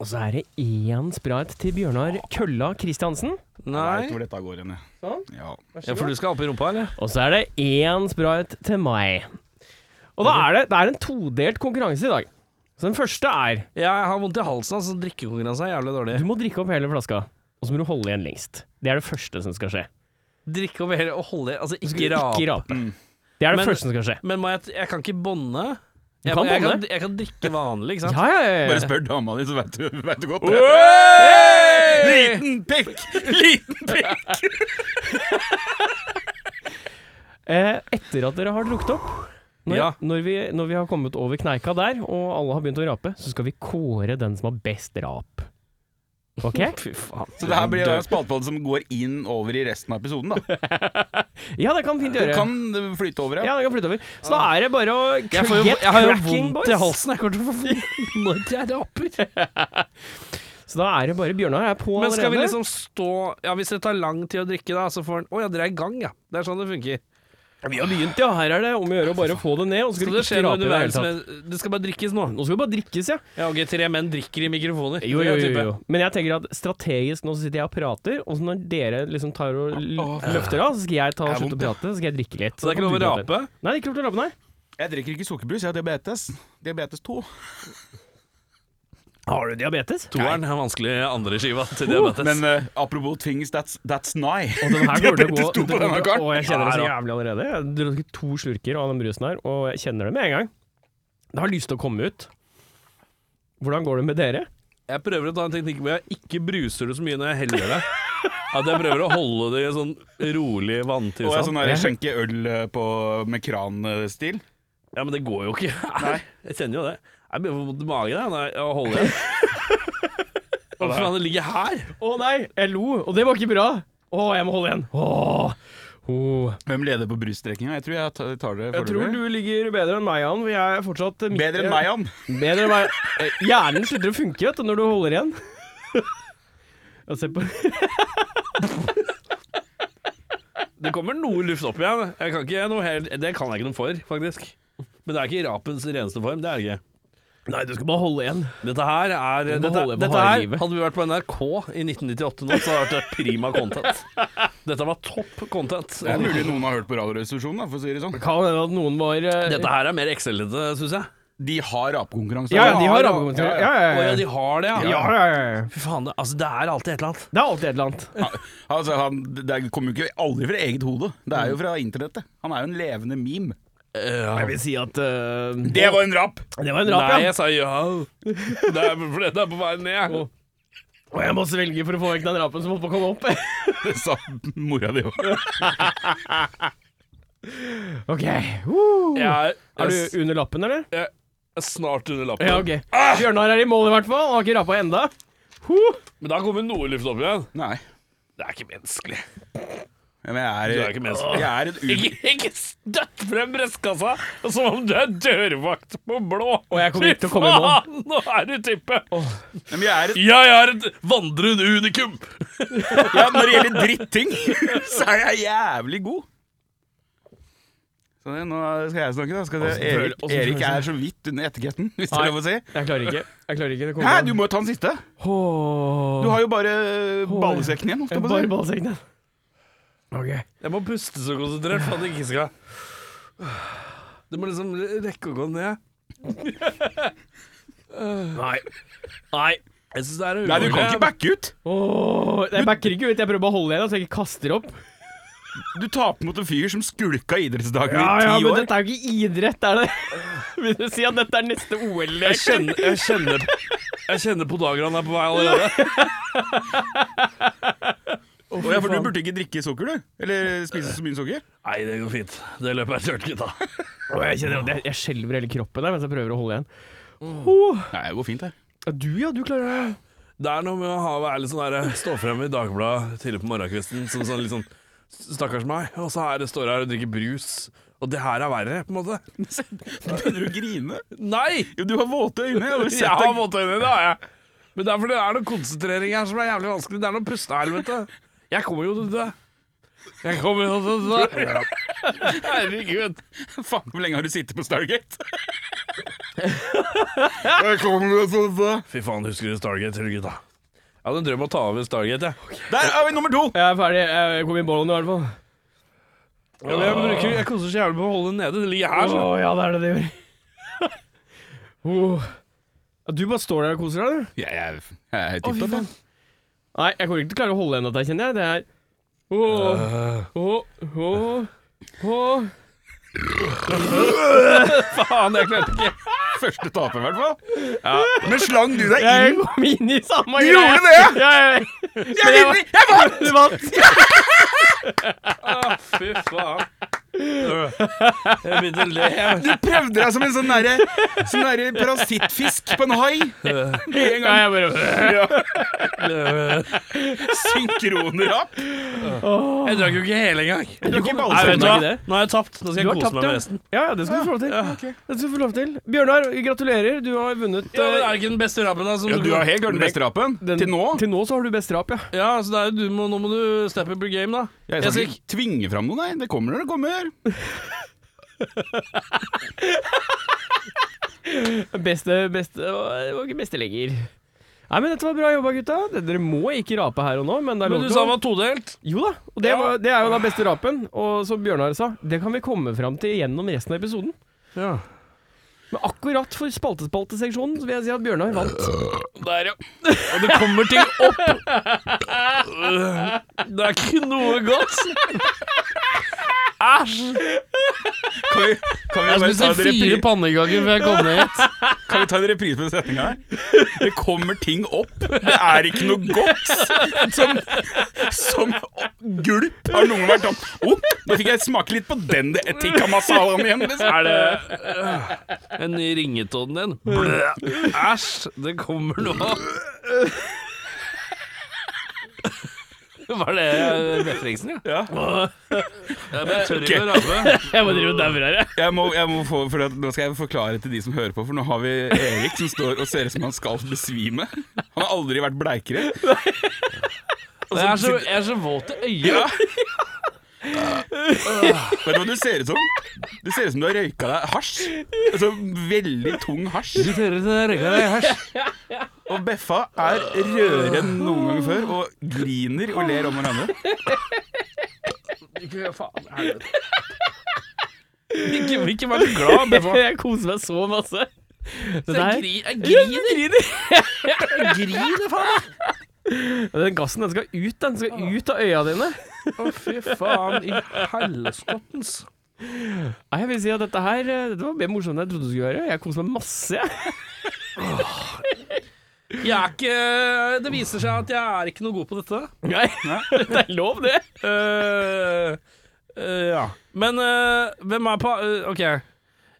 S3: Og så er det én sprite til Bjørnar Kølla Kristiansen.
S2: Jeg
S1: Nei.
S2: vet hvor dette går hen, jeg.
S3: Sånn.
S2: Ja.
S1: Ja, for du skal opp i rumpa, eller?
S3: Og så er det én sprite til meg. Og da er det, det er en todelt konkurranse i dag. Så den første er
S1: Ja, jeg har vondt i halsen, altså. Drikkekonkurranse er jævlig dårlig.
S3: du må drikke opp hele flaska, og så må du holde igjen lengst. Det er det første som skal skje.
S1: Drikke over hele og holde Altså, ikke
S3: Ikke
S1: rape.
S3: rape. Det er det
S1: Men-
S3: første som skal skje.
S1: Men må jeg, jeg kan ikke bånde.
S3: Du
S1: Jeg,
S3: kan
S1: jeg,
S3: bonde.
S1: kan, jeg kan drikke vanlig, ikke sant?
S3: Ja, ja, ja, ja.
S2: Bare spør dama di, så veit du, vet du godt det. Liten pikk! Liten pikk!
S3: Eh, etter at dere har drukket opp når,
S1: Ja.
S3: når, vi, når vi har kommet over kneika der, og alle har begynt å rape, så skal vi kåre den som har best rap. OK?
S1: Fy faen.
S2: Så det her blir en spaltepall som går inn over i resten av episoden, da.
S3: Ja, det kan fint
S2: Det
S3: gjøre.
S2: kan eh, flyte over, ja.
S3: Ja, det kan flytte over. Så da er det bare å
S1: Jeg, får jo,
S3: get
S1: jeg har jo
S3: cracking,
S1: vondt i
S3: boys.
S1: halsen. Jeg kommer til å få vondt når jeg raper.
S3: Så da er det bare Bjørnar er på
S1: Men skal vi
S3: allerede.
S1: liksom stå Ja, hvis det tar lang tid å drikke, da, så får han Å ja, dere er i gang, ja. Det er sånn det funker.
S3: Vi har begynt, ja. Her er det om å gjøre å bare få det ned. Og så skal
S1: Skal
S3: det
S1: det skje
S3: ikke
S1: noe
S3: rape i det
S1: underveis
S3: hele tatt.
S1: med Det skal bare drikkes nå.
S3: Nå skal det bare drikkes, ja.
S1: Ja, ok, tre menn drikker i mikrofoner.
S3: Jo,
S1: Det
S3: jo,
S1: er
S3: jo,
S1: type.
S3: jo. Men jeg tenker at strategisk nå så sitter jeg og prater, og så når dere liksom tar og l- løfter av, så skal jeg ta og
S2: Det er
S3: slutte å
S2: vondt,
S3: prate, så skal jeg drikke litt.
S1: Så det er ikke lov å rape?
S3: Nei, det er ikke lov til å rape, nei.
S2: Jeg drikker ikke sukkerbrus, jeg har diabetes. Diabetes 2.
S3: Har du diabetes?
S1: Toeren er vanskelig andre skiva til diabetes.
S2: Men eh, apropos things, that's, that's nigh.
S3: Og den her kommer til å gå
S2: Diabetes 2 på denne
S3: Å,
S2: karen.
S3: jeg kjenner det så
S2: Ja, da.
S3: jævlig allerede. Jeg drakk to slurker av den brusen her, og jeg kjenner det med en gang. Det har lyst til å komme ut. Hvordan går det med dere?
S1: Jeg prøver å ta en teknikk hvor jeg ikke bruser det så mye når jeg heller det. At jeg prøver å holde det i en sånn rolig
S2: Og jeg er
S1: vanntilstand.
S2: sånn der, skjenke øl eh, på, med kranstil.
S1: Ja, men det går jo ikke. Jeg kjenner jo det. Jeg begynner å få vondt i magen jeg, når jeg holder det. Hva faen, det ligger her?
S3: Å nei, jeg lo, og det var ikke bra. Å, jeg må holde igjen. Åh. Åh.
S2: Hvem leder på bryststrekninga? Jeg tror jeg ta- tar det
S3: Jeg tror du ligger bedre enn meg, Jan. for Jeg er fortsatt midt-
S2: Bedre enn meg, han.
S3: Bedre enn meg. Eh, Hjernen slutter å funke vet du, når du holder igjen. Jeg ser på
S1: Det kommer noe luft opp igjen. Jeg kan ikke noe helt, det kan jeg ikke noe for, faktisk. Men det er ikke rapens reneste form. det er det ikke.
S3: Nei, du skal bare holde igjen.
S1: Dette her er
S3: Du må
S1: Dette,
S3: holde på
S1: dette
S3: harde
S1: her
S3: livet.
S1: Hadde vi vært på NRK i 1998 nå, så hadde det vært prima content. Dette var topp content.
S2: Det er mulig noen har hørt på Radioresepsjonen, da, for å si det sånn.
S3: Kan hende at noen var eh,
S1: Dette her er mer excellente, syns jeg.
S2: De har rapekonkurranse.
S3: Ja, ja, de har rammekontroll.
S2: Ja, ja.
S3: Ja, ja,
S1: Å ja,
S3: ja.
S1: de har det, ja.
S3: Ja, ja, ja.
S1: Fy faen, det, altså, det er alltid et eller annet.
S3: Det er alltid et eller annet.
S2: Altså, han, det kommer jo ikke aldri fra eget hode. Det er jo fra internettet. Han er jo en levende meme.
S3: Jeg vil si at eh,
S2: Det var en rap!
S3: det var en rap,
S1: Nei,
S3: ja.
S1: jeg sa ja. Det er fordi det er på vei ned.
S3: Og jeg må svelge for å få vekk den rapen som holdt på å komme opp.
S2: Det sa mora di òg.
S3: ok. Uh.
S1: Jeg er,
S3: Er du under lappen, eller?
S1: jeg er snart under lappen.
S3: Ja, ok.
S1: Ah!
S3: Bjørnar er i mål, i hvert fall. Han har ikke rapa enda. Huh.
S1: Men da kommer noe luft opp igjen.
S2: Nei.
S1: Det er ikke menneskelig.
S2: Men jeg
S1: Du
S2: er,
S1: er ikke menneskelig.
S2: Jeg er et u...
S1: Ikke, ikke støtt frem brystkassa som om du er dørvakt på blå.
S3: Og jeg kommer ikke til å komme inn nå.
S1: Fy faen, nå er du type.
S2: Men jeg er et
S1: Jeg er et vandrende unikum.
S2: ja, Når det gjelder dritting, så er jeg jævlig god. Så det, nå skal jeg snakke, da. Skal det, Erik,
S3: føler- åssen
S2: Erik
S3: føles det?
S2: er så vidt under etiketten, hvis det
S3: Nei.
S2: er lov å si.
S3: Jeg klarer ikke. Jeg klarer ikke. Det
S2: Hæ,
S3: kommer
S2: du må jo ta den siste! Du har jo bare ballesekken igjen. holdt jeg på å
S3: Bare
S2: si.
S3: ballsengen. Ok.
S1: Jeg må puste så konsentrert for at jeg ikke skal Det må liksom rekke å gå ned.
S3: Nei. Nei.
S1: Jeg synes det er
S2: Nei, du kan
S1: ubehagelig.
S2: ikke backe ut!
S3: Åh, jeg backer ikke ut. Jeg prøver bare å holde igjen, så jeg ikke kaster opp.
S2: Du taper mot en fyr som skulka idrettsdagen
S3: Ja, ja,
S2: i ti
S3: men
S2: år.
S3: dette er jo ikke idrett, er det? Vil du si at dette er neste
S1: Jeg
S3: OL-lek?
S1: kjenner, jeg kjenner Jeg kjenner på dager han er på vei allerede.
S2: Å, ja, for du burde ikke drikke sukker, du. Eller spise så mye sukker.
S1: Nei, det går fint. Det løpet er tørt, gutta.
S3: Åh, Jeg kjenner at jeg, jeg skjelver hele kroppen der mens jeg prøver å holde igjen.
S2: Nei, det går fint her.
S3: Ja, Du ja, du klarer det.
S1: Det er noe med å ha, være litt sånn der, stå frem i Dagbladet tidlig på morgenkvisten som sånn litt sånn Stakkars meg. Og så her står jeg her og drikker brus. Og det her er verre, på en måte.
S2: Begynner du å grine?
S1: Nei!
S2: Jo, du har våte øyne. Jeg har jo sett
S1: Jeg har
S2: deg-
S1: våte øyne, det har jeg. Men det er fordi det er noe konsentrering her som er jævlig vanskelig. Det er noe pustehelvete. Jeg kommer jo til å dø. Jeg kommer jo til å dø. Herregud.
S2: Faen, hvor lenge har du sittet på Stargate? Jeg kommer til å dø.
S1: Fy faen, husker du Stargate, tror du, gutta? Jeg hadde en drøm om å ta over Stargate, jeg.
S2: Der er vi nummer to!
S3: Jeg er ferdig. Jeg kom i bollen i hvert fall.
S1: Ja, men jeg, bruker, jeg koser så jævlig på å holde den nede. Det ligger her.
S3: Å
S1: Så.
S3: ja, det er det det gjør. Åh. Oh. Ja, Du bare står der og koser deg, du.
S2: Jeg er, jeg er tipp topp, jeg.
S3: Nei, jeg kommer ikke til å klare å holde igjen dette, kjenner jeg. Det er Åh, åh, åh, åh.
S1: Faen, jeg klarte ikke.
S2: Første taper, i hvert fall. Men slang du deg
S3: Jeg
S2: inn?
S3: kom inn i samme
S2: Du
S3: greie.
S2: gjorde det?
S3: Ja, jeg,
S2: Jeg vinner! Jeg vant!
S3: du vant!
S1: Fy faen. Jeg begynte å le.
S2: Du prøvde deg som en sånn derre sånn derre parasittfisk på en hai.
S3: En gang jeg bare
S2: Synkronrap.
S1: Jeg drakk jo ikke hele engang.
S2: Du
S1: Nei,
S2: ikke
S1: vet du
S2: ballsang.
S3: Nei,
S1: hva?
S3: det.
S1: Nå har jeg tapt. Nå skal
S3: Du
S1: jeg
S3: har
S1: kose
S3: tapt,
S1: meg med
S3: ja.
S1: resten.
S3: Ja, ja, det skal du få lov til. Det skal du få lov til. Bjørnar, gratulerer. Du har vunnet
S1: Ja, men
S3: eh,
S1: er det ikke den beste rappen da? Som
S2: Ja, du har helt klart den beste rapen.
S3: den-
S2: Til nå.
S3: Til nå så har du best rap, ja.
S1: Ja, så det er, jo- du må, nå må du step up your game, da.
S2: Jeg skal ikke tvinge fram noe, nei. Det kommer når det kommer. her?
S3: Beste, beste Det var ikke beste lenger. Nei, men Dette var bra jobba, gutta. Dere må ikke rape her og nå. Men, det er
S1: Men
S3: lov
S1: du
S3: til
S1: sa
S3: å-
S1: han var todelt.
S3: Jo da, og det, var, det er jo da beste rapen. Og som Bjørnar sa, det kan vi komme fram til gjennom resten av episoden.
S1: Ja.
S3: Men akkurat for spaltespalteseksjonen så vil jeg si at Bjørnar vant.
S1: Der, ja. Og det kommer ting opp. Det er ikke noe godt. Æsj.
S2: Kan vi, kan vi,
S4: Jeg
S2: bare ta
S4: spiste
S2: en repri,
S4: fire pannekaker før jeg kom ned hit.
S2: kan vi ta en reprise på den setninga her? Det kommer ting opp. Det er ikke noe godt. Som, som gulp har noen vært opp. Å, nå fikk jeg smake litt på den etikka masalaen igjen. liksom.
S1: Er det en ny ringetonen din? Blø. Æsj, det kommer noe. Var det referansen, ja? Ja. Jeg tør ikke å rape.
S3: Jeg må drive og daue her, jeg.
S2: Jeg må, jeg må få, for at, nå skal jeg forklare til de som hører på, for nå har vi Erik som står og ser ut som han skal besvime. Han har aldri vært bleikere.
S1: Jeg er så, jeg er så våt i øyet.
S2: Ja. Vet du hva du ser ut som? Du ser ut som du har røyka deg hasj. Altså veldig tung hasj. Og Beffa er rødere enn noen gang før og griner og ler om hverandre.
S1: Ikke, ikke vær så glad, Beffa.
S3: Jeg koser meg så masse.
S1: Jeg
S3: Det der,
S1: gri- jeg griner. Jeg griner, faen.
S3: den gassen den skal ut, den skal ut av øya dine.
S1: Å, fy faen i helskottens.
S3: Nei, jeg vil si at dette her eh, Dette var mer morsomt enn jeg trodde det skulle være. Jeg koser meg masse. jeg.
S1: Jeg er ikke Det viser seg at jeg er ikke noe god på dette.
S3: Nei, det er lov, det.
S1: Eh, eh, ja. Men eh, hvem er på eh, OK. Ja,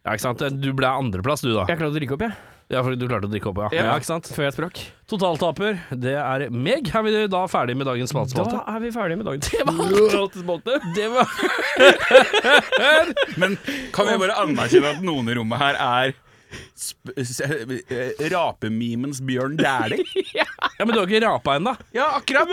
S1: ikke sant. Du ble andreplass, du, da.
S3: Jeg klarte å rykke opp, jeg.
S1: Ja, fordi du klarte å drikke opp, ja. ja. ikke sant?
S3: Før jeg sprakk.
S1: Totaltaper, det er meg. Er vi da ferdig med dagens
S3: Da
S1: spalte?
S3: er vi ferdige med dagens spaltespalte.
S1: Det var
S2: Men kan vi bare anerkjenne at noen i rommet her er sp s eh, rapemimens Bjørn Dæhlie?
S1: Ja, men du har ikke rapa ennå.
S2: Ja, akkurat!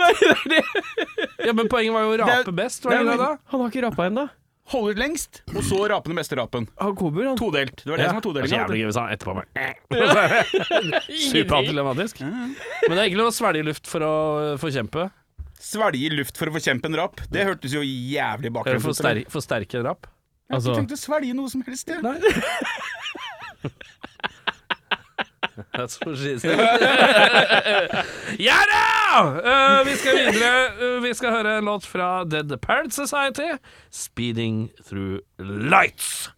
S1: Ja, men poenget var jo å
S2: Det er-
S1: rape best, var det ikke
S2: det
S1: det?
S2: er-
S1: da?
S3: Han har ikke rapa ennå.
S2: Holde ut lengst, og så rape den beste rapen.
S3: Han kommer, han.
S2: Todelt. Det var det
S1: Det
S2: som var
S1: er så
S2: todelinga.
S1: Altså, jævlig gøy hvis han etterpå bare Superantilematisk. Men det er ikke lov å svelge luft for å eh, forkjempe.
S2: Svelge luft for å forkjempe en rap. Det hørtes jo jævlig
S1: Eller
S2: baklengs ut. Jeg
S1: forsterke, forsterke rap.
S2: har
S3: altså-
S2: ikke tenkt å svelge noe som helst, jeg.
S1: That's what she said. ja da! Eh, vi skal videre. Eh, vi skal høre en låt fra Dead Parent Society. 'Speeding Through Lights'.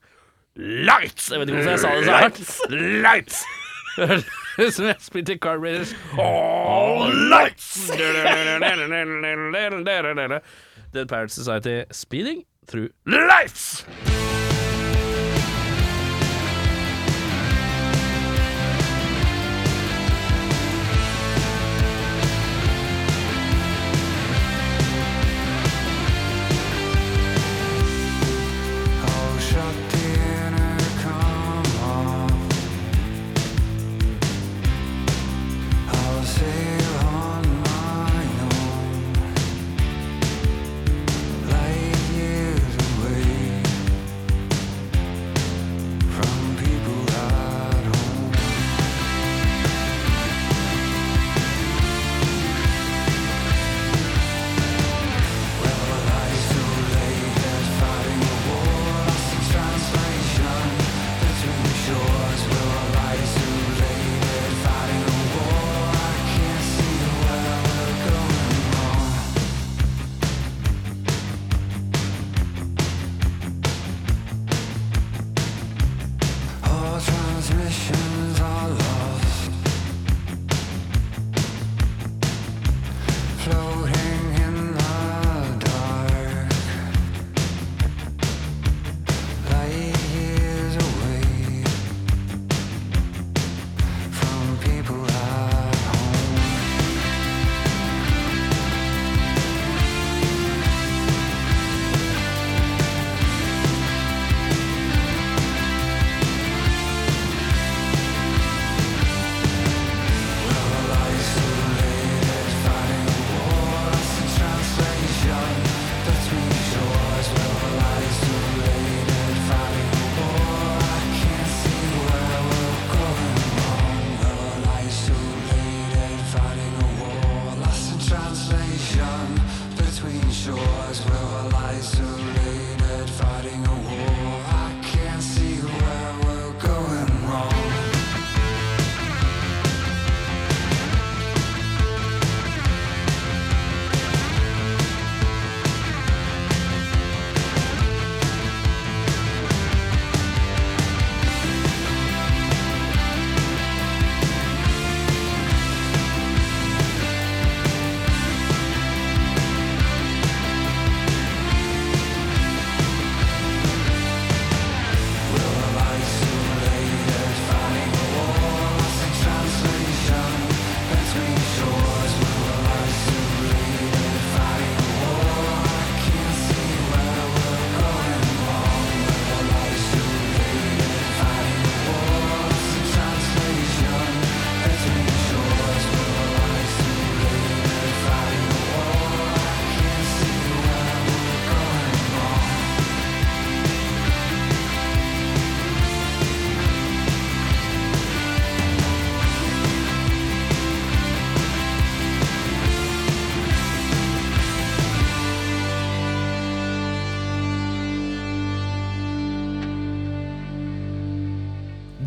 S1: Lights! Jeg vet ikke hvorfor jeg sa det så hardt. Lights! Høres ut som jeg spilte Car Raiders. All lights! Dead Parent Society, 'Speeding Through Lights'.
S5: Light years away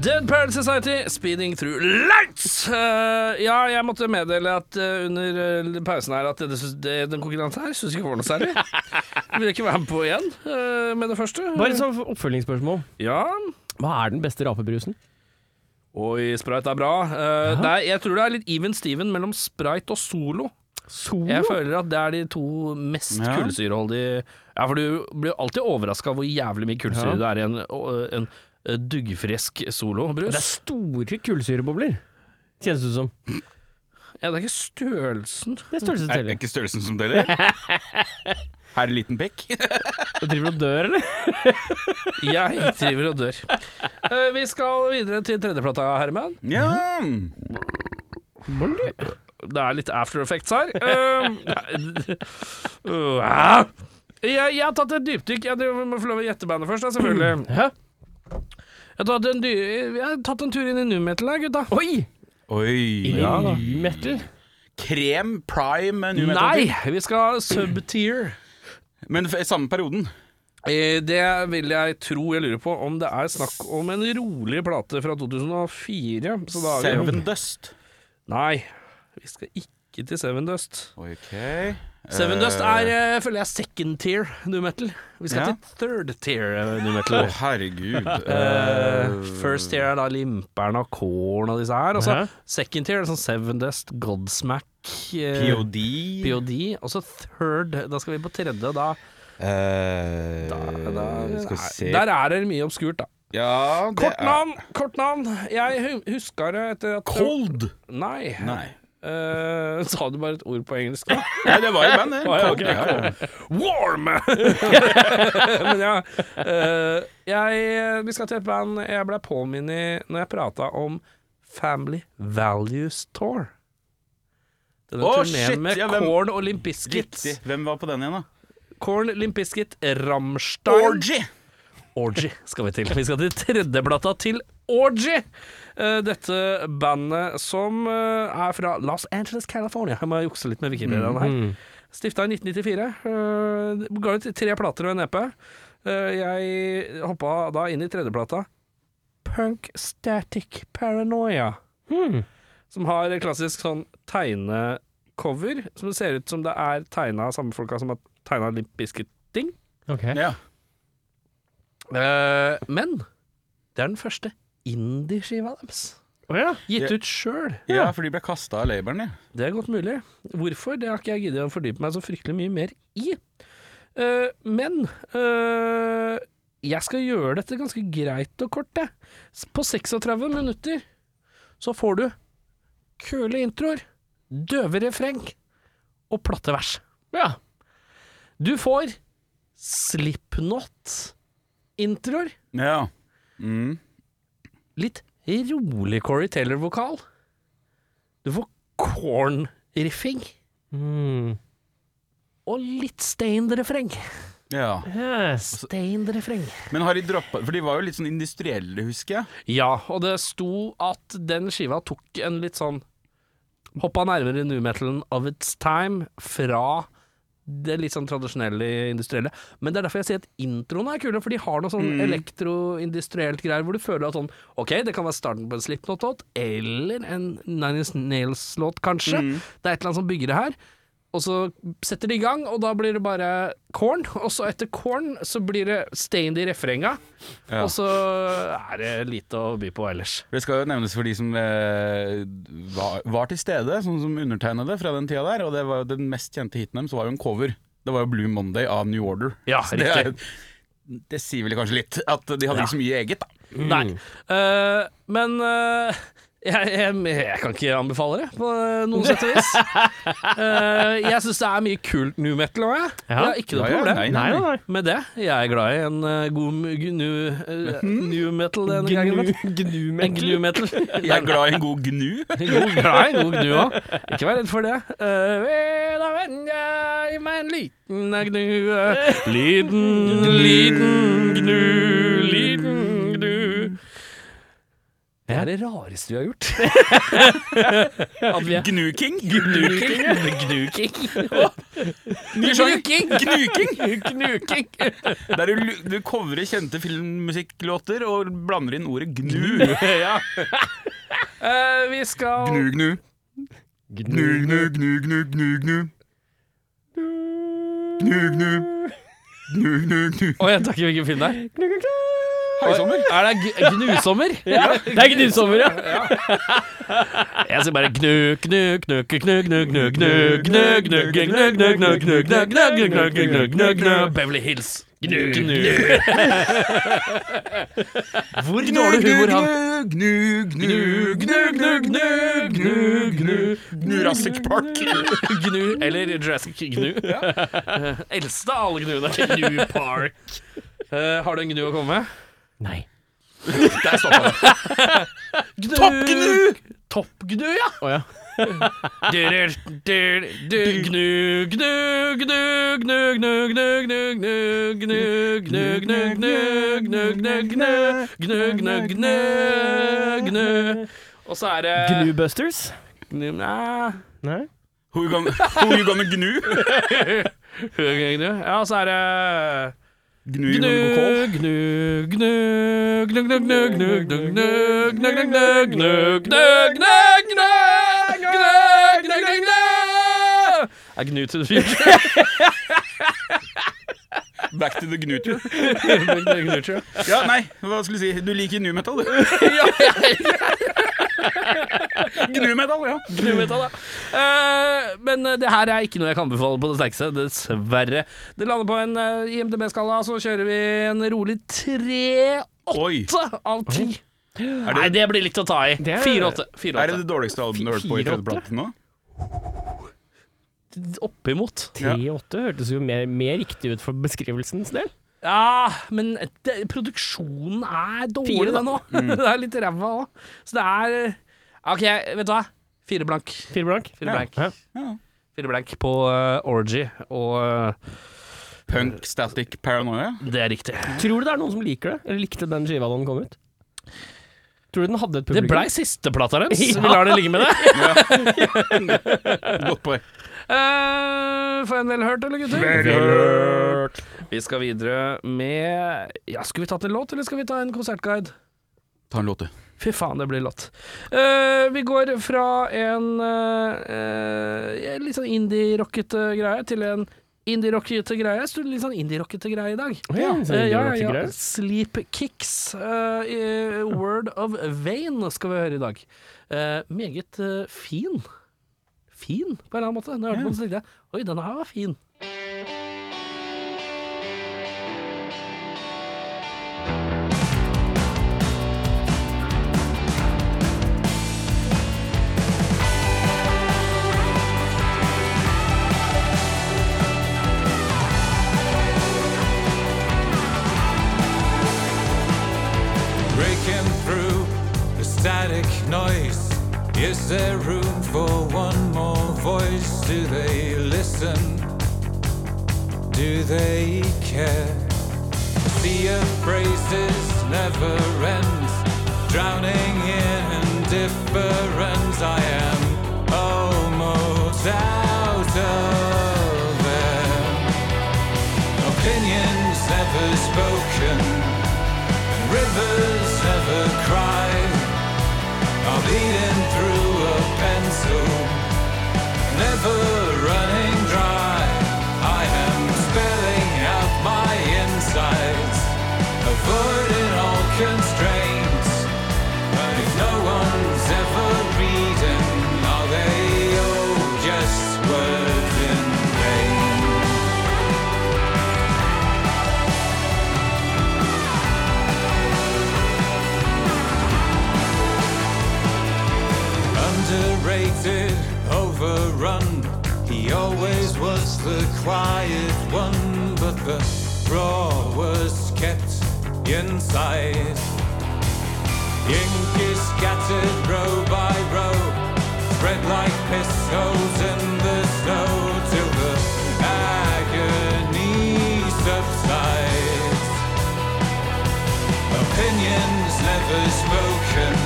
S1: Dead Parent Society, Speeding Through Lights! Eh, ja, jeg måtte meddele at eh, under eh, pausen her at det, det, den konkurransen her syns ikke var noe særlig. Vil ikke være med på igjen eh, med det første.
S3: Bare et sånt oppfølgingsspørsmål.
S1: Ja.
S3: Hva er den beste rapebrusen?
S1: Oi, sprite er bra. Eh, det er, jeg tror det er litt even steven mellom sprite og solo.
S3: Solo?
S1: Jeg føler at det er de to mest
S2: Ja.
S1: kullsyreholdige Ja, for du blir jo alltid overraska hvor jævlig mye kullsyre det er i en, å- en eh, duggfrisk solobrus.
S3: Det er store kullsyrebobler, kjennes det ut som.
S1: Ja, det er ikke størrelsen.
S3: Det er
S2: Er
S3: størrelse
S2: det
S3: til.
S2: Mm. ikke størrelsen som teller? Her er liten pikk.
S3: Driver du og dør, eller?
S1: Jeg driver og dør. Eh, Vi skal videre til tredjeplata, Herman.
S2: Ja.
S1: Det er litt after effects her. Eh, uh, ah. jeg, jeg har tatt et dypdykk. Jeg driver- må få lov å gjette bandet først, da, selvfølgelig.
S3: Mm. Hæ?
S1: Jeg har tatt en, dy jeg har tatt en tur inn i nu metal her, gutta.
S3: Oi!
S2: Oi.
S3: Ja, da. Metal.
S2: Krem, prime, nu metal.
S1: Nei, vi skal ha subtier.
S2: Men f- samme perioden.
S1: Eh, Det vil jeg tro. Jeg lurer på om det er snakk om en rolig plate fra 2004. Så da er vi
S2: Seven Dust.
S1: Nei, vi skal ikke til Seven Dust.
S2: Ok.
S1: Seven Dust er, eh, føler jeg, second tier new metal. Vi skal
S2: Ja.
S1: til third tier eh, new
S2: Å,
S1: metal.
S2: herregud.
S1: Eh, first tier er da Limpern og Korn og disse her. Og så
S3: Hæ?
S1: second tier er sånn Seven Dust, Godsmack, eh,
S2: POD.
S1: POD. Og så third Da skal vi på tredje. Da,
S2: Eh,
S1: da-
S2: skal vi se
S1: der er det mye obskurt, da.
S2: Ja, det
S1: Kort navn! Kort navn. Jeg hu- husker det etter at
S2: Cold.
S1: Nei.
S2: Nei.
S1: Eh, sa du bare et ord på engelsk, da?
S2: Nei, det var jo band, det.
S1: ja,
S2: Cold, ja, ja.
S1: Warm! Men ja, eh, jeg, vi skal til et band jeg ble påminnet når jeg prata om Family Values Tour. Denne
S2: Å, shit,
S1: turneen med
S2: ja, hvem-
S1: Korn og Limp Bizkit.
S2: Riktig. Hvem var på den igjen, da?
S1: Korn, Limp Bizkit, Rammstein Orgy skal vi til. Vi skal til tredjeplata til Orgy. Eh, Dette bandet som eh, er fra Los Angeles, California. Jeg må jukse litt med Wikipediaen her. Stifta i 1994. eh, Ga ut tre plater og en EP. Eh, Jeg hoppa da inn i tredjeplata. Punk Static Paranoia. Som har klassisk sånn tegnecover, som ser ut som det er tegna av samme folka som har tegna Limp Bizkit-ting.
S3: Ok.
S2: Ja.
S1: Eh, men det er den første indie-skiva deres.
S3: Å ja.
S1: Gitt
S2: Ja.
S1: ut sjøl.
S2: ja, for de ble kasta av labelen, ja.
S1: Det er godt mulig. Hvorfor? Det har ikke jeg giddet å fordype meg så fryktelig mye mer i. Eh, men eh, jeg skal gjøre dette ganske greit og kort, jeg. På 36 minutter så får du kule introer, døve refreng og platte vers.
S3: ja.
S1: Du får Slipknot-introer.
S2: ja. Mm.
S1: litt rolig Corey Taylor-vokal. Du får corn-riffing
S3: Mm.
S1: og litt stained-refreng.
S2: ja.
S3: Yes.
S1: Stained-refreng.
S2: Men har de droppa For de var jo litt sånn industrielle, husker jeg.
S1: Ja, og det sto at den skiva tok en litt sånn Hoppa nærmere nu metalen of its time fra det litt sånn tradisjonelle industrielle. Men det er derfor jeg sier at introene er kule, for de har noe sånn elektroindustrielt greier hvor du føler at sånn Ok, det kan være starten på en Slipknot-låt, eller en Nine Inch Nails-låt, kanskje. Det er et eller annet som bygger det her. Og så setter de i gang, og da blir det bare corn. Og så etter corn så blir det stained i refrenga. Og så er det lite å by på ellers.
S2: Det skal jo nevnes for de som eh, var, var til stede, sånn som undertegnede fra den tida der. Og det var jo den mest kjente hiten deres var jo en cover. Det var jo Blue Monday av New Order.
S1: Ja,
S2: Så det, er- det sier vel kanskje litt at de hadde ikke så mye eget, da.
S1: Nei. Eh, men eh, jeg, jeg, jeg kan ikke anbefale det på noe sett og vis. Eh, jeg syns det er mye kult new metal òg, jeg.
S3: Ja.
S1: Jeg har ikke noe
S2: Ja, ja,
S1: problem
S2: nei,
S3: Nei, nei, nei.
S1: med det. Jeg er glad i en eh, god mu- gu- new, eh,
S2: Mhm.
S1: new metal en gang
S3: Gnu,
S1: iblant. En
S3: gnumetal.
S1: gnu metal.
S2: Jeg er glad i en god gnu.
S1: God, glad i god gnu òg. Ikke vær redd for det. Eh, vel, da vender jeg meg en liten eh, gnu. Liten, liten gnu, liten gnu. Jeg er er det rareste vi har gjort?
S3: At vi er
S2: Gnuking?
S3: Gnuking.
S2: Ny sjanger. Gnuking!
S3: Knuking.
S2: Der du, lu- du covrer kjente filmmusikklåter og blander inn ordet gnu.
S1: Eh, vi skal
S2: Gnu, gnu. Gnu, gnu, gnu, gnu, gnu, gnu. Gnu, gnu. Gnu, gnu, gnu.
S1: Å, jeg tar ikke hvilken film det er.
S2: Haisommer.
S1: Er det g- Gnusommer?
S3: Ja, det er gnusommer, ja.
S1: Jeg sier bare gnu, gnu, gnu, gnu, gnu, gnu, gnu, gnu, gnu, gnu, gnu, gnu, gnu, gnu, gnu, gnu, gnu, gnu, gnu, gnu, gnu, Beverly Hills. Gnu, gnu. Hvor dårlig humor har
S2: Gnu, gnu, gnu, gnu, gnu, gnu, gnu. Jurassic Park.
S1: Gnu, eller Jurassic Gnu. Eh, Eldste av alle gnuene. Gnu Park. Eh, har du en gnu å komme med?
S3: Nei.
S2: Der stoppa det.
S1: Toppgnu! Toppgnu, ja.
S3: Å ja.
S1: Gnu, gnu, gnu, gnu, gnu, gnu, gnu, gnu, gnu, gnu, gnu, gnu, gnu, gnu, gnu, gnu, gnu, gnu, gnu, gnu. Og så er det
S3: Gnubusters?
S1: Gnu, næ.
S3: Nei.
S2: Who you gonna, who you gonna gnu?
S1: Gnu. Ja, og så er det
S2: Gnu, you
S1: Gnu,
S2: gonna call?
S1: gnu, gnu, gnu, gnu, gnu, gnu, gnu, gnu, gnu, gnu, gnu, gnu, gnu, gnu, gnu, gnu, gnu, gnu, gnu. Er gnu til det fint?
S2: Back to the gnutur.
S1: Gnu, gnu, gnu, tror jeg.
S2: Ja, nei, hva skulle jeg si? Du liker nu metal, du. Gnu metal, ja.
S1: Gnu metal, ja. Eh, men eh, det her er ikke noe jeg kan befale på det sterkeste, dessverre. Det lander på en eh, IMDb-skala, så kjører vi en rolig tre
S2: Oi.
S1: åtte av ti.
S2: Er
S1: Nei,
S2: det,
S1: det blir litt å ta i.
S3: Det er-
S1: Fire åtte. Fire
S2: er det
S1: åtte.
S2: det dårligste albumet du har hørt på i
S3: Fire, åtte?
S2: tredjeplaten nå?
S1: Oppimot.
S3: 3-8 hørtes jo mer, mer riktig ut for beskrivelsens del.
S1: Ja, men det, produksjonen er dårlig,
S3: Fire, da. Mm.
S1: den òg. det er litt ræva òg. Så det er eh, OK, vet du hva? Fire blank.
S3: Fire blank.
S1: Fire blank.
S3: Ja.
S1: Fire blank på eh, Orgy, og eh,
S2: Punk Static Paranoia?
S1: det er riktig.
S3: Tror du det er noen som liker det? Eller likte den skiva da den kom ut? Tror du den hadde et
S1: Det
S3: publikum?
S1: blei sisteplata deres.
S3: Ja.
S1: Vi lar det ligge med det.
S2: Godt poeng.
S1: Eh, Får jeg en vel hørt, eller gutter?
S3: hørt.
S1: Vi skal videre med Ja, skulle vi tatt en låt, eller skal vi ta en konsertguide?
S2: Ta en låt, du.
S1: Fy faen, det blir låt. Eh, vi går fra en eh, eh, litt sånn indie-rockete greie til en indie-rockete greie. Så litt sånn indie-rockete greie i dag.
S3: Ja, så
S1: Eh, ja, ja,
S3: indie-rockete
S1: ja.
S3: greier.
S1: Sleep Kicks. eh, i Word of Vain skal vi høre i dag. Eh, meget eh, fin. Fin, på en eller annen måte. Når jeg hørte på den, så tenkte jeg oi, denne her var fin.
S6: breaking through the static noise. Is there room for one more voice? Do they listen? Do they care? Sea of phrases never ends, drowning in indifference. I am almost out of there. Opinions never spoken. Rivers never cry. I'm bleeding through a pencil, never running dry. I am spelling out my insides, avoiding all constraints. But if no one's ever reading, are they all just words in vain? Underrated, overrun. He always was the quiet one, but the raw was kept inside. Ink is scattered row by row, spread like pistols in the snow till the agony subsides. Opinions never spoken.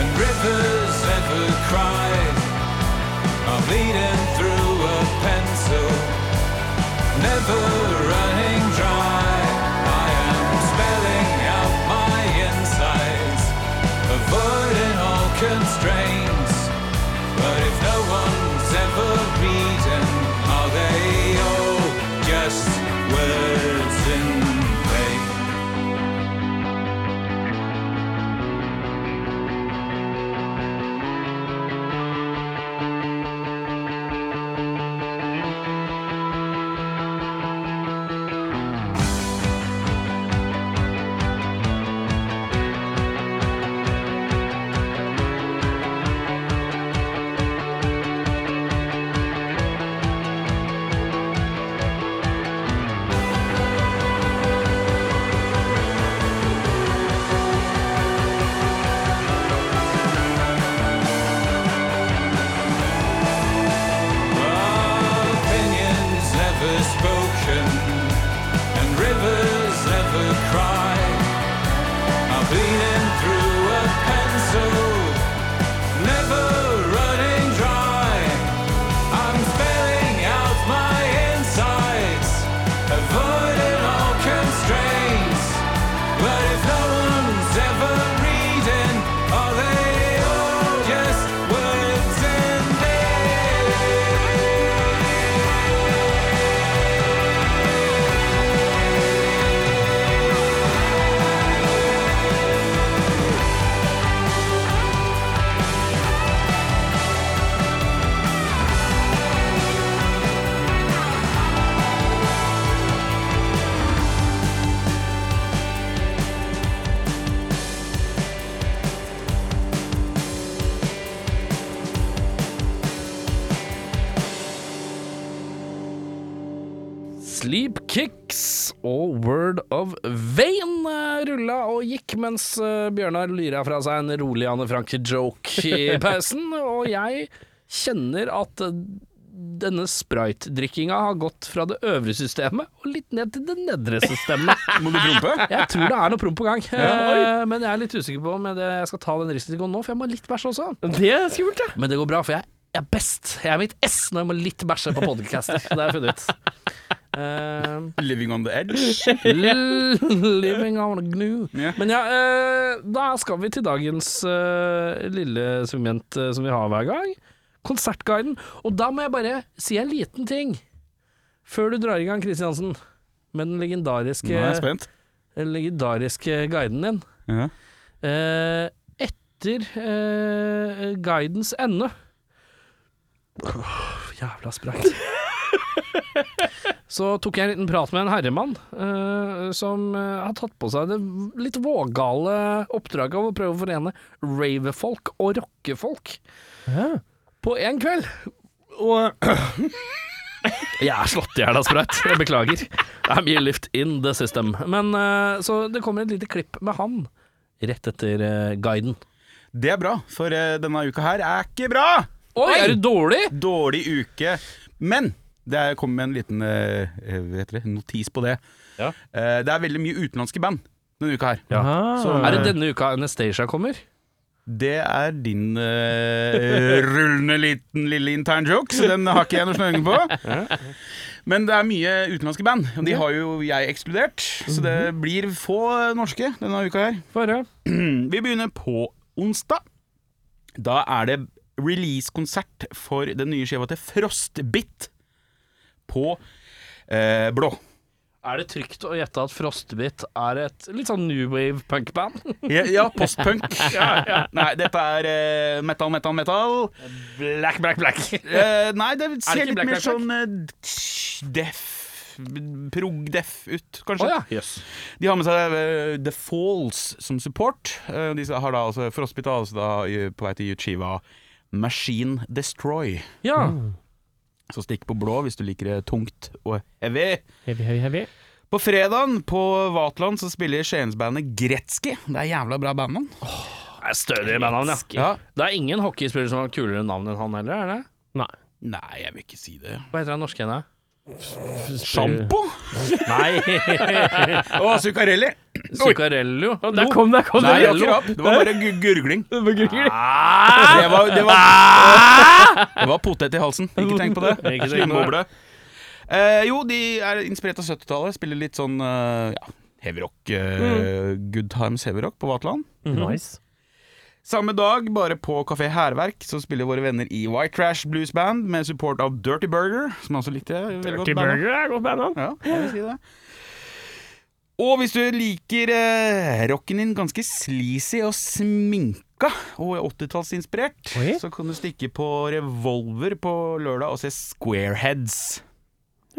S6: and rivers ever cry are bleeding through a pencil, never running dry. I am spelling out my insides, avoiding all constraints. But if no one's ever reading, are they all just words in vain? Opinions never spoken and rivers never cry are bleeding through a pencil, never running dry. I'm spelling out my insides, avoiding all constraints. But if no one's ever reading, are they all just words in vain?
S1: Sleep Kicks og Word of Vain eh, rulla og gikk mens eh, Bjørnar lyra fra seg en rolig Anne Franke-joke i pausen. Og jeg kjenner at eh, denne sprite-drikkinga har gått fra det øvre systemet og litt ned til det nedre systemet.
S2: Må du prompe?
S1: Jeg tror det er noe prom på gang, eh, men jeg er litt usikker på om jeg- jeg skal ta den risikoen nå, for jeg må litt bæsje også.
S3: Det er skummelt, ja.
S1: Men det går bra, for jeg er best. Jeg er mitt S når jeg må litt bæsje på podcaster. Det har jeg funnet ut. Eh,
S2: Living on the edge.
S1: Living on a gnu.
S2: Ja.
S1: Men ja, eh, da skal vi til dagens eh, lille segment eh, som vi har hver gang. Konsertguiden. Og da må jeg bare si en liten ting før du drar i gang, Kristiansen. Med den
S2: Nå er jeg
S1: legendariske,
S2: spent.
S1: den legendariske guiden din.
S2: Ja.
S1: Eh, etter eh, guidens ende Åh, Jævla spreit. Så tok jeg en liten prat med en herremann eh, som eh, har tatt på seg det litt vågale oppdraget av å prøve å forene ravefolk og rockefolk på én kveld. Og Jeg er slått i hjel av sprøyt, jeg beklager. Det er mye luft in the system. Men eh, så det kommer et lite klipp med han rett etter eh, guiden.
S2: Det er bra, for eh, denne uka her er ikke bra!
S1: Oi, er du dårlig?
S2: Dårlig uke. Men det er- kommer med en liten eh, eh, hva heter det, notis på det.
S1: Ja.
S2: Eh, det er veldig mye utenlandske band denne uka her. Så-
S1: Er det denne uka Anastacia kommer?
S2: Det er din eh, rullende liten lille intern joke, så den har ikke jeg noe snøring på. Men det er mye utenlandske band, og de har jo jeg ekskludert. Så det blir få norske denne uka her. Vi begynner på onsdag. Da er det release-konsert for den nye skiva til Frostbit på eh, Blå.
S1: Er det trygt å gjette at Frostbit er et litt sånn new wave punkband?
S2: Ja, ja postpunk. Nei, dette er eh, metal, metal, metal.
S1: Black, black, black.
S2: Eh, nei, det ser
S1: ikke
S2: litt
S1: Black Black
S2: mer
S1: Black?
S2: sånn uh, deff Prog-deff ut, kanskje.
S1: Å ja.
S2: De har med seg eh, The Falls som support. Eh, de har da altså Frostbit er altså da eh, på vei til Uchiva Machine Destroy.
S1: ja.
S2: Så stikk på blå hvis du liker det tungt og heavy.
S3: Heavy, heavy, heavy.
S2: På fredagen på Vatland så spiller Skiensbandet Gretzky. Det er jævla bra bandnavn.
S1: Det er stødig med navn, ja.
S2: Ja.
S1: Det er ingen hockeyspiller som har kulere navn enn han heller, er det?
S3: Nei.
S2: Nei, jeg vil ikke si det.
S1: Hva heter han norske henne?
S2: Sjampo?
S3: Nei!
S2: Og Zuccarelli. Oi,
S1: Zuccarello.
S3: Der kom det, kom det!
S2: Nei, akkurat. Det var bare gu- gurgling. Ah!
S3: Det var gul.
S2: Det var, det var, det var potet i halsen. Ikke tenk på det.
S3: Ikke tenk
S2: Slim
S3: på det.
S2: boble. Eh, jo, de er inspirert av 70-tallet. Spiller litt sånn eh, ja, heavyrock. eh, Good Times heavyrock på Vaterland.
S3: Nice.
S2: Samme dag, bare på Kafé Hærverk, så spiller våre venner i White Trash Blues Band med support av Dirty Burger, som jeg også likte veldig godt.
S3: Dirty
S2: bandet.
S3: Burger er godt band, han.
S2: Ja, jeg vil si det. Og hvis du liker eh, rocken din ganske sleazy og sminka og 80-tallsinspirert,
S3: Oi.
S2: så kan du stikke på Revolver på lørdag og se Squareheads.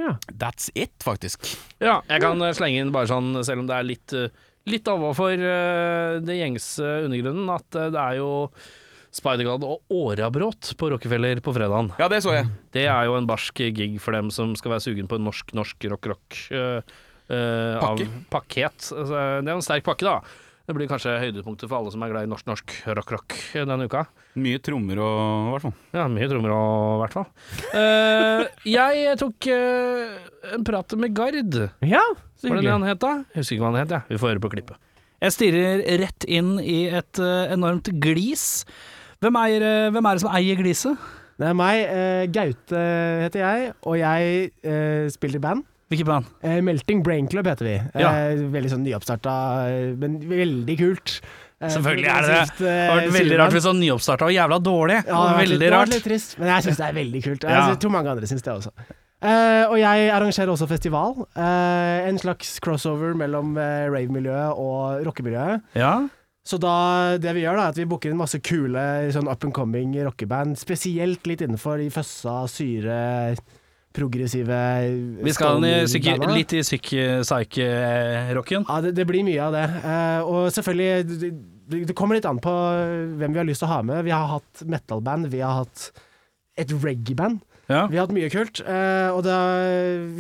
S3: Ja.
S2: That's it, faktisk.
S1: Ja, jeg kan eh, slenge inn bare sånn, selv om det er litt, eh, litt overfor eh, det gjengse undergrunnen, at eh, det er jo Spider-God og Årabråt på Rockefeller på fredagen.
S2: Ja, det så jeg.
S1: Det er jo en barsk gig for dem som skal være sugen på en norsk, norsk rock-rock.
S2: Pakke.
S1: eh, pakket. Altså, det er jo en sterk pakke, da. Det blir kanskje høydepunktet for alle som er glad i norsk-norsk rock-rock denne uka.
S2: Mye trommer og i hvert fall.
S1: Ja, mye trommer og i hvert fall. Eh, jeg tok eh, en prat med Gard.
S3: ja, så
S1: Var det det
S3: hyggelig.
S1: han het da? Jeg husker ikke hva han het, jeg. Vi får høre på klippet.
S7: Jeg stirrer rett inn i et eh, enormt glis. Hvem, eier, eh, hvem er det som eier gliset?
S8: Det er meg. eh, Gaute heter jeg, og jeg eh, spiller i band.
S7: Hvilket band?
S8: Eh, Melting Brain Club heter vi. Eh,
S7: Ja.
S8: veldig sånn nyoppstarta, eh, men veldig kult. Eh,
S1: Selvfølgelig
S8: for
S1: er det
S8: ganske, eh,
S1: Det har vært veldig
S8: sier
S1: rart
S8: man.
S1: hvis han nyoppstarta og jævla dårlig.
S8: Ja, det har vært litt-
S1: veldig
S8: det har vært
S1: rart.
S8: Litt trist, men jeg syns det er veldig kult.
S1: Ja.
S8: Jeg tror mange andre syns det også. Eh, og jeg arrangerer også festival. Eh, en slags crossover mellom eh, rave-miljøet og rockemiljøet.
S7: Ja.
S8: Så da, det vi gjør da, er at vi booker inn masse kule sånn up and coming rockeband, spesielt litt innenfor de føssa, syre, progressive
S7: Vi skal inn i psyki-
S8: stålbanda.
S7: litt i psyke-rocken.
S8: Ja, det, det blir mye av det. Eh, og selvfølgelig, det, det- det kommer litt an på eh, hvem vi har lyst til å ha med. Vi har hatt metalband, vi har hatt et reggae-band.
S7: Ja.
S8: Vi har hatt mye kult. eh, og det,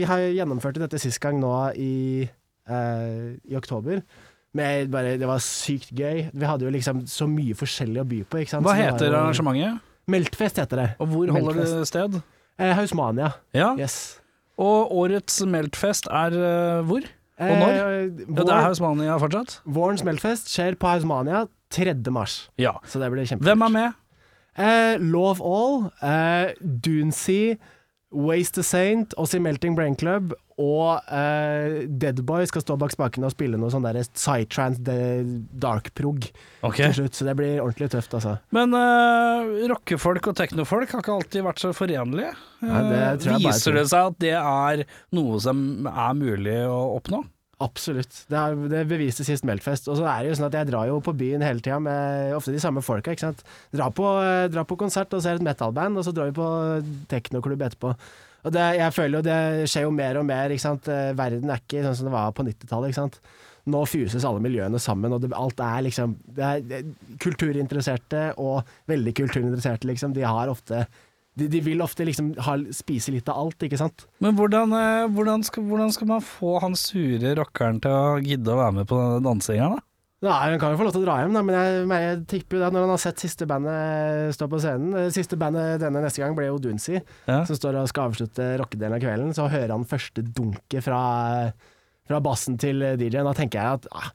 S8: vi har gjennomført dette sist gang nå i, eh, i oktober. Med bare, det var sykt gøy. Vi hadde jo liksom så mye forskjellig å by på. Ikke sant?
S7: Hva
S8: Så det var
S7: heter
S8: jo-
S7: arrangementet,
S8: Meltfest heter det.
S7: og hvor holder
S8: Meltfest.
S7: det sted?
S8: Eh, Hausmania.
S7: Ja.
S8: Yes.
S7: Og årets Meltfest er eh, hvor? Og når?
S8: Eh,
S7: Ja, det er
S8: vår,
S7: Hausmania fortsatt?
S8: vårens Meltfest skjer på Hausmania 3. mars.
S7: Ja.
S8: Så det blir kjempekult.
S7: Hvem er med?
S8: Eh, Love All, eh, Doonsea, Waste the Saint, oss i Melting Brain Club og eh, Deadboy skal stå bak spaken og spille noe sånn der psytrance de- dark-prog til slutt. Så det blir ordentlig tøft, altså.
S7: Men eh, rockefolk og teknofolk har ikke alltid vært så forenlige.
S8: Nei, det tror jeg bare
S7: Eh, Viser
S8: tror.
S7: det seg at det er noe som er mulig å oppnå?
S8: Absolutt. Det, er, det beviste sist Meltfest. Og så er det jo sånn at jeg drar jo på byen hele tida med ofte de samme folka, ikke sant. Drar på, eh, drar på konsert og ser et metalband, og så drar vi på teknoklubb etterpå. Og det, jeg føler jo det skjer jo mer og mer, ikke sant. Eh, Verden er ikke sånn som det var på 90-tallet, ikke sant. Nå fuses alle miljøene sammen, og det, alt er liksom det er, det, Kulturinteresserte og veldig kulturinteresserte, liksom, de har ofte De, de vil ofte liksom ha, spise litt av alt, ikke sant.
S7: Men hvordan, eh, hvordan, skal, hvordan skal man få han sure rockeren til å gidde å være med på denne dansinga, da?
S8: Nei, Han kan jo få lov til å dra hjem, da, men jeg, men jeg tipper jo det at når han har sett siste bandet stå på scenen eh, Siste bandet denne neste gang ble jo Dunsi,
S7: Ja.
S8: som står og skal avslutte rockedelen av kvelden. Så hører han første dunket fra, fra bassen til DJ-en. Da tenker jeg at ah,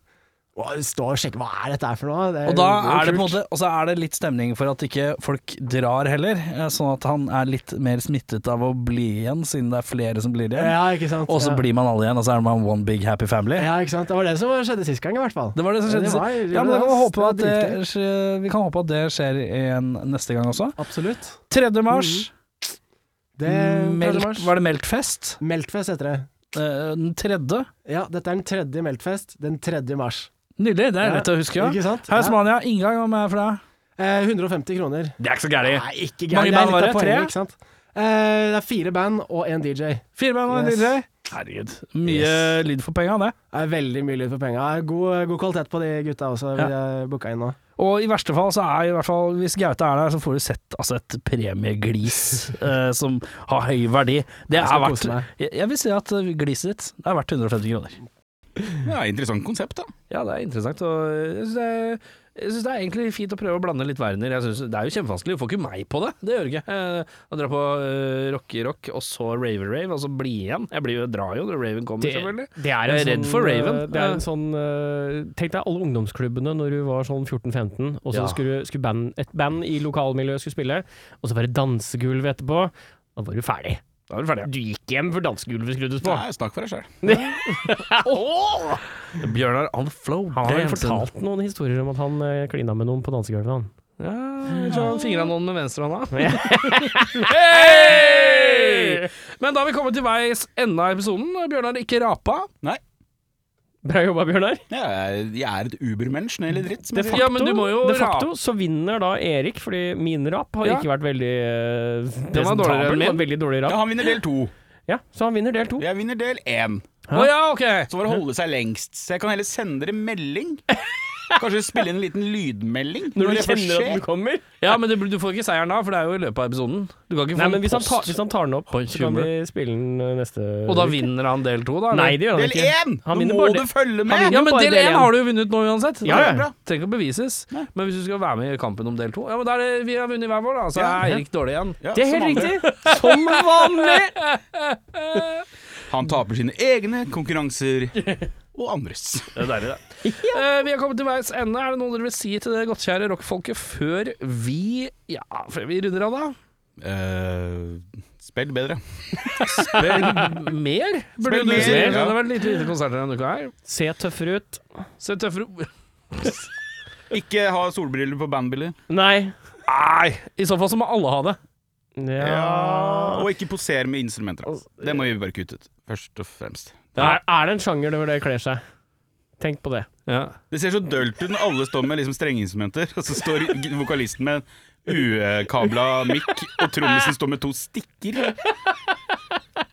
S8: å, Stå og sjekke, hva er dette her for noe? Eh, Det
S7: Og da
S8: jo
S7: er det på en
S8: kult.
S7: måte Og så er det litt stemning for at ikke folk drar heller, eh, sånn at han er litt mer smittet av å bli igjen, siden det er flere som blir igjen.
S8: Ja, ikke sant.
S7: Og så
S8: ja.
S7: blir man alle igjen, og så er man one big happy family.
S8: ja, ikke sant. Det var det som skjedde sist gang, i hvert fall.
S7: Det var det som skjedde.
S8: Ja, det var-
S7: ja, men da kan vi,
S8: det
S7: håpe
S8: var
S7: at eh, det,
S8: dritgøy.
S7: skje- vi kan håpe at det skjer igjen neste gang også.
S8: Absolutt.
S7: 3. mars,
S8: Mm, Det,
S7: melk, var det Meltfest?
S8: Meltfest heter det.
S7: Eh, Den tredje.
S8: Ja, dette er den tredje Meltfest, den 3. mars.
S7: Nydelig, det er
S8: Ja,
S7: lett å huske. Ja.
S8: Ikke sant? Ja.
S7: Hausmania, inngang om jeg er for deg.
S8: Eh, 150 kroner.
S1: Det er ikke så gærent.
S8: Nei, ikke
S7: Mange
S8: gærent. Det
S7: band var
S8: er litt av
S7: det?
S8: poenget,
S7: Tre?
S8: ikke sant? Eh, det er fire band og én DJ.
S7: Fire band og en
S8: Yes.
S7: DJ. Herregud. Mye lyd for penga, det.
S8: Det er veldig mye lyd for penga. God, god kvalitet på de gutta også, vi har booka inn nå.
S7: Og i verste fall så er i hvert fall Hvis Gaute er der, så får du sett altså, et premieglis eh, som har høy verdi. Det
S8: skal
S7: er
S8: kose
S7: verdt
S8: meg.
S7: jeg, jeg vil si at eh, gliset ditt er verdt 150 kroner.
S2: Det er et interessant konsept, da.
S1: Ja, det er interessant. Og jeg syns det, er- jeg synes det er egentlig fint å prøve å blande litt verdener. Jeg synes, det er jo kjempevanskelig, du får ikke meg på det. Det gjør du ikke. Eh, Å dra på eh, rocke-rock, og så rave-rave, og så bli igjen. Jeg blir jo, jeg drar jo når raven kommer, selvfølgelig.
S3: er
S1: Jeg er redd for Raven.
S3: eh, Det er en sånn eh, Tenk deg alle ungdomsklubbene når du var sånn 14-15, og så
S1: Ja.
S3: skulle, skulle band, et band i lokalmiljøet skulle spille, og så var det dansegulv etterpå. Da var du ferdig.
S1: Da er du ferdig.
S3: Du gikk hjem før dansegulvet skruddes på.
S2: Nei, snakk for deg sjøl.
S1: ja. Bjørnar on flow.
S3: Han har jo
S1: dancing.
S3: fortalt noen historier om at han eh, klina med noen på dansegulvet. Han.
S1: Ja, jeg tror han fingra noen med venstrehånda.
S3: Hey!
S1: Men da har vi kommet til veis ende av episoden. Bjørnar ikke rapa.
S2: Nei,
S3: Bra jobba, Bjørnar.
S2: jeg er, jeg er et ubermensch når det gjelder dritt. som jeg sier.
S1: Ja, men du må jo
S3: de facto så vinner da Erik, fordi min rap har
S1: Ja.
S3: ikke vært veldig eh,
S1: Den var dårligere enn
S3: presentabel.
S1: min.
S3: men Veldig dårlig
S2: Ja,
S3: rap.
S2: han vinner del to.
S3: Ja, så han vinner del to.
S2: Jeg vinner del én.
S1: Å ja, ok.
S2: Så var det å holde seg lengst. Så jeg kan heller sende dere melding. Kanskje spille inn en liten lydmelding
S3: Når du
S2: det først
S3: kjenner at
S2: skjer.
S3: den kommer.
S1: Ja, men det, du får ikke seieren da, for det er jo i løpet av episoden. Du kan ikke få
S3: Nei, men
S1: en
S3: hvis han,
S1: post.
S3: tar, hvis han tar den opp,
S1: på en
S3: så kan vi
S1: tjue.
S3: spille den eh, neste
S1: Og da
S3: uke.
S1: vinner han del to, da? eller?
S3: Nei, det gjør han
S2: Del
S3: ikke.
S2: én! Nå
S3: Han vinner
S2: må
S3: bare
S2: du
S3: del-
S2: følge med!
S3: vinner
S1: Ja, men
S3: bare
S1: del
S3: del
S1: én
S3: én.
S1: har du jo vunnet nå uansett.
S3: Ja,
S1: Det
S3: ja.
S1: er bra. Trenger ikke å bevises. Men hvis du skal være med i kampen om del to Ja, men da er det, vi har vunnet hver vår, da. Så
S2: Ja.
S1: er Eirik dårlig igjen.
S2: Ja,
S3: Det er
S2: som
S3: helt
S2: vanlig.
S3: riktig! Som vanlig!
S2: Han taper sine egne konkurranser og andres.
S1: Eh, vi har kommet til veis ende. Er det noe dere vil si til det godtkjære rockfolket før vi Ja, før vi runder av, da?
S2: Eh, spill bedre.
S1: Spør mer, burde
S2: Spør
S1: du
S2: mer,
S1: si.
S2: ja.
S1: Det har vært litt lite konserter denne uka her.
S3: Se tøffere ut.
S1: Se tøffere
S2: Ikke ha solbriller på bandbilder.
S3: Nei.
S1: Nei! I så fall så må alle ha det.
S3: Ja
S2: Og ikke posere med instrumenter. altså. Det må vi bare kutte ut, først og fremst.
S3: er, er det en sjanger hvor det kler seg? Tenk på det.
S2: Det ser så dølt ut når alle står med liksom strengeinstrumenter, og så står vokalisten med en ukabla mic, og trommisen står med to stikker.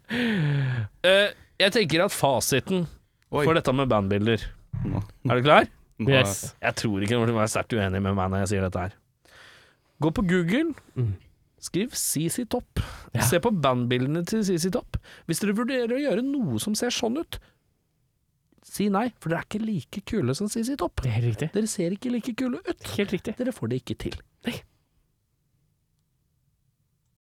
S1: Eh, jeg tenker at fasiten
S2: Oi.
S1: for dette med bandbilder
S2: Nå-
S1: Er du klar?
S2: nå-
S3: Yes.
S1: Jeg tror ikke noen vil være sterkt uenig med meg når jeg sier dette her. Gå på Google,
S3: Mm.
S1: skriv CC Topp. Se på bandbildene til CC Topp. Hvis dere vurderer å gjøre noe som ser sånn ut, si nei, for dere er ikke like kule som CC Topp.
S3: Det er helt riktig.
S1: Dere ser ikke like kule ut.
S3: Helt riktig.
S1: Dere får det ikke til.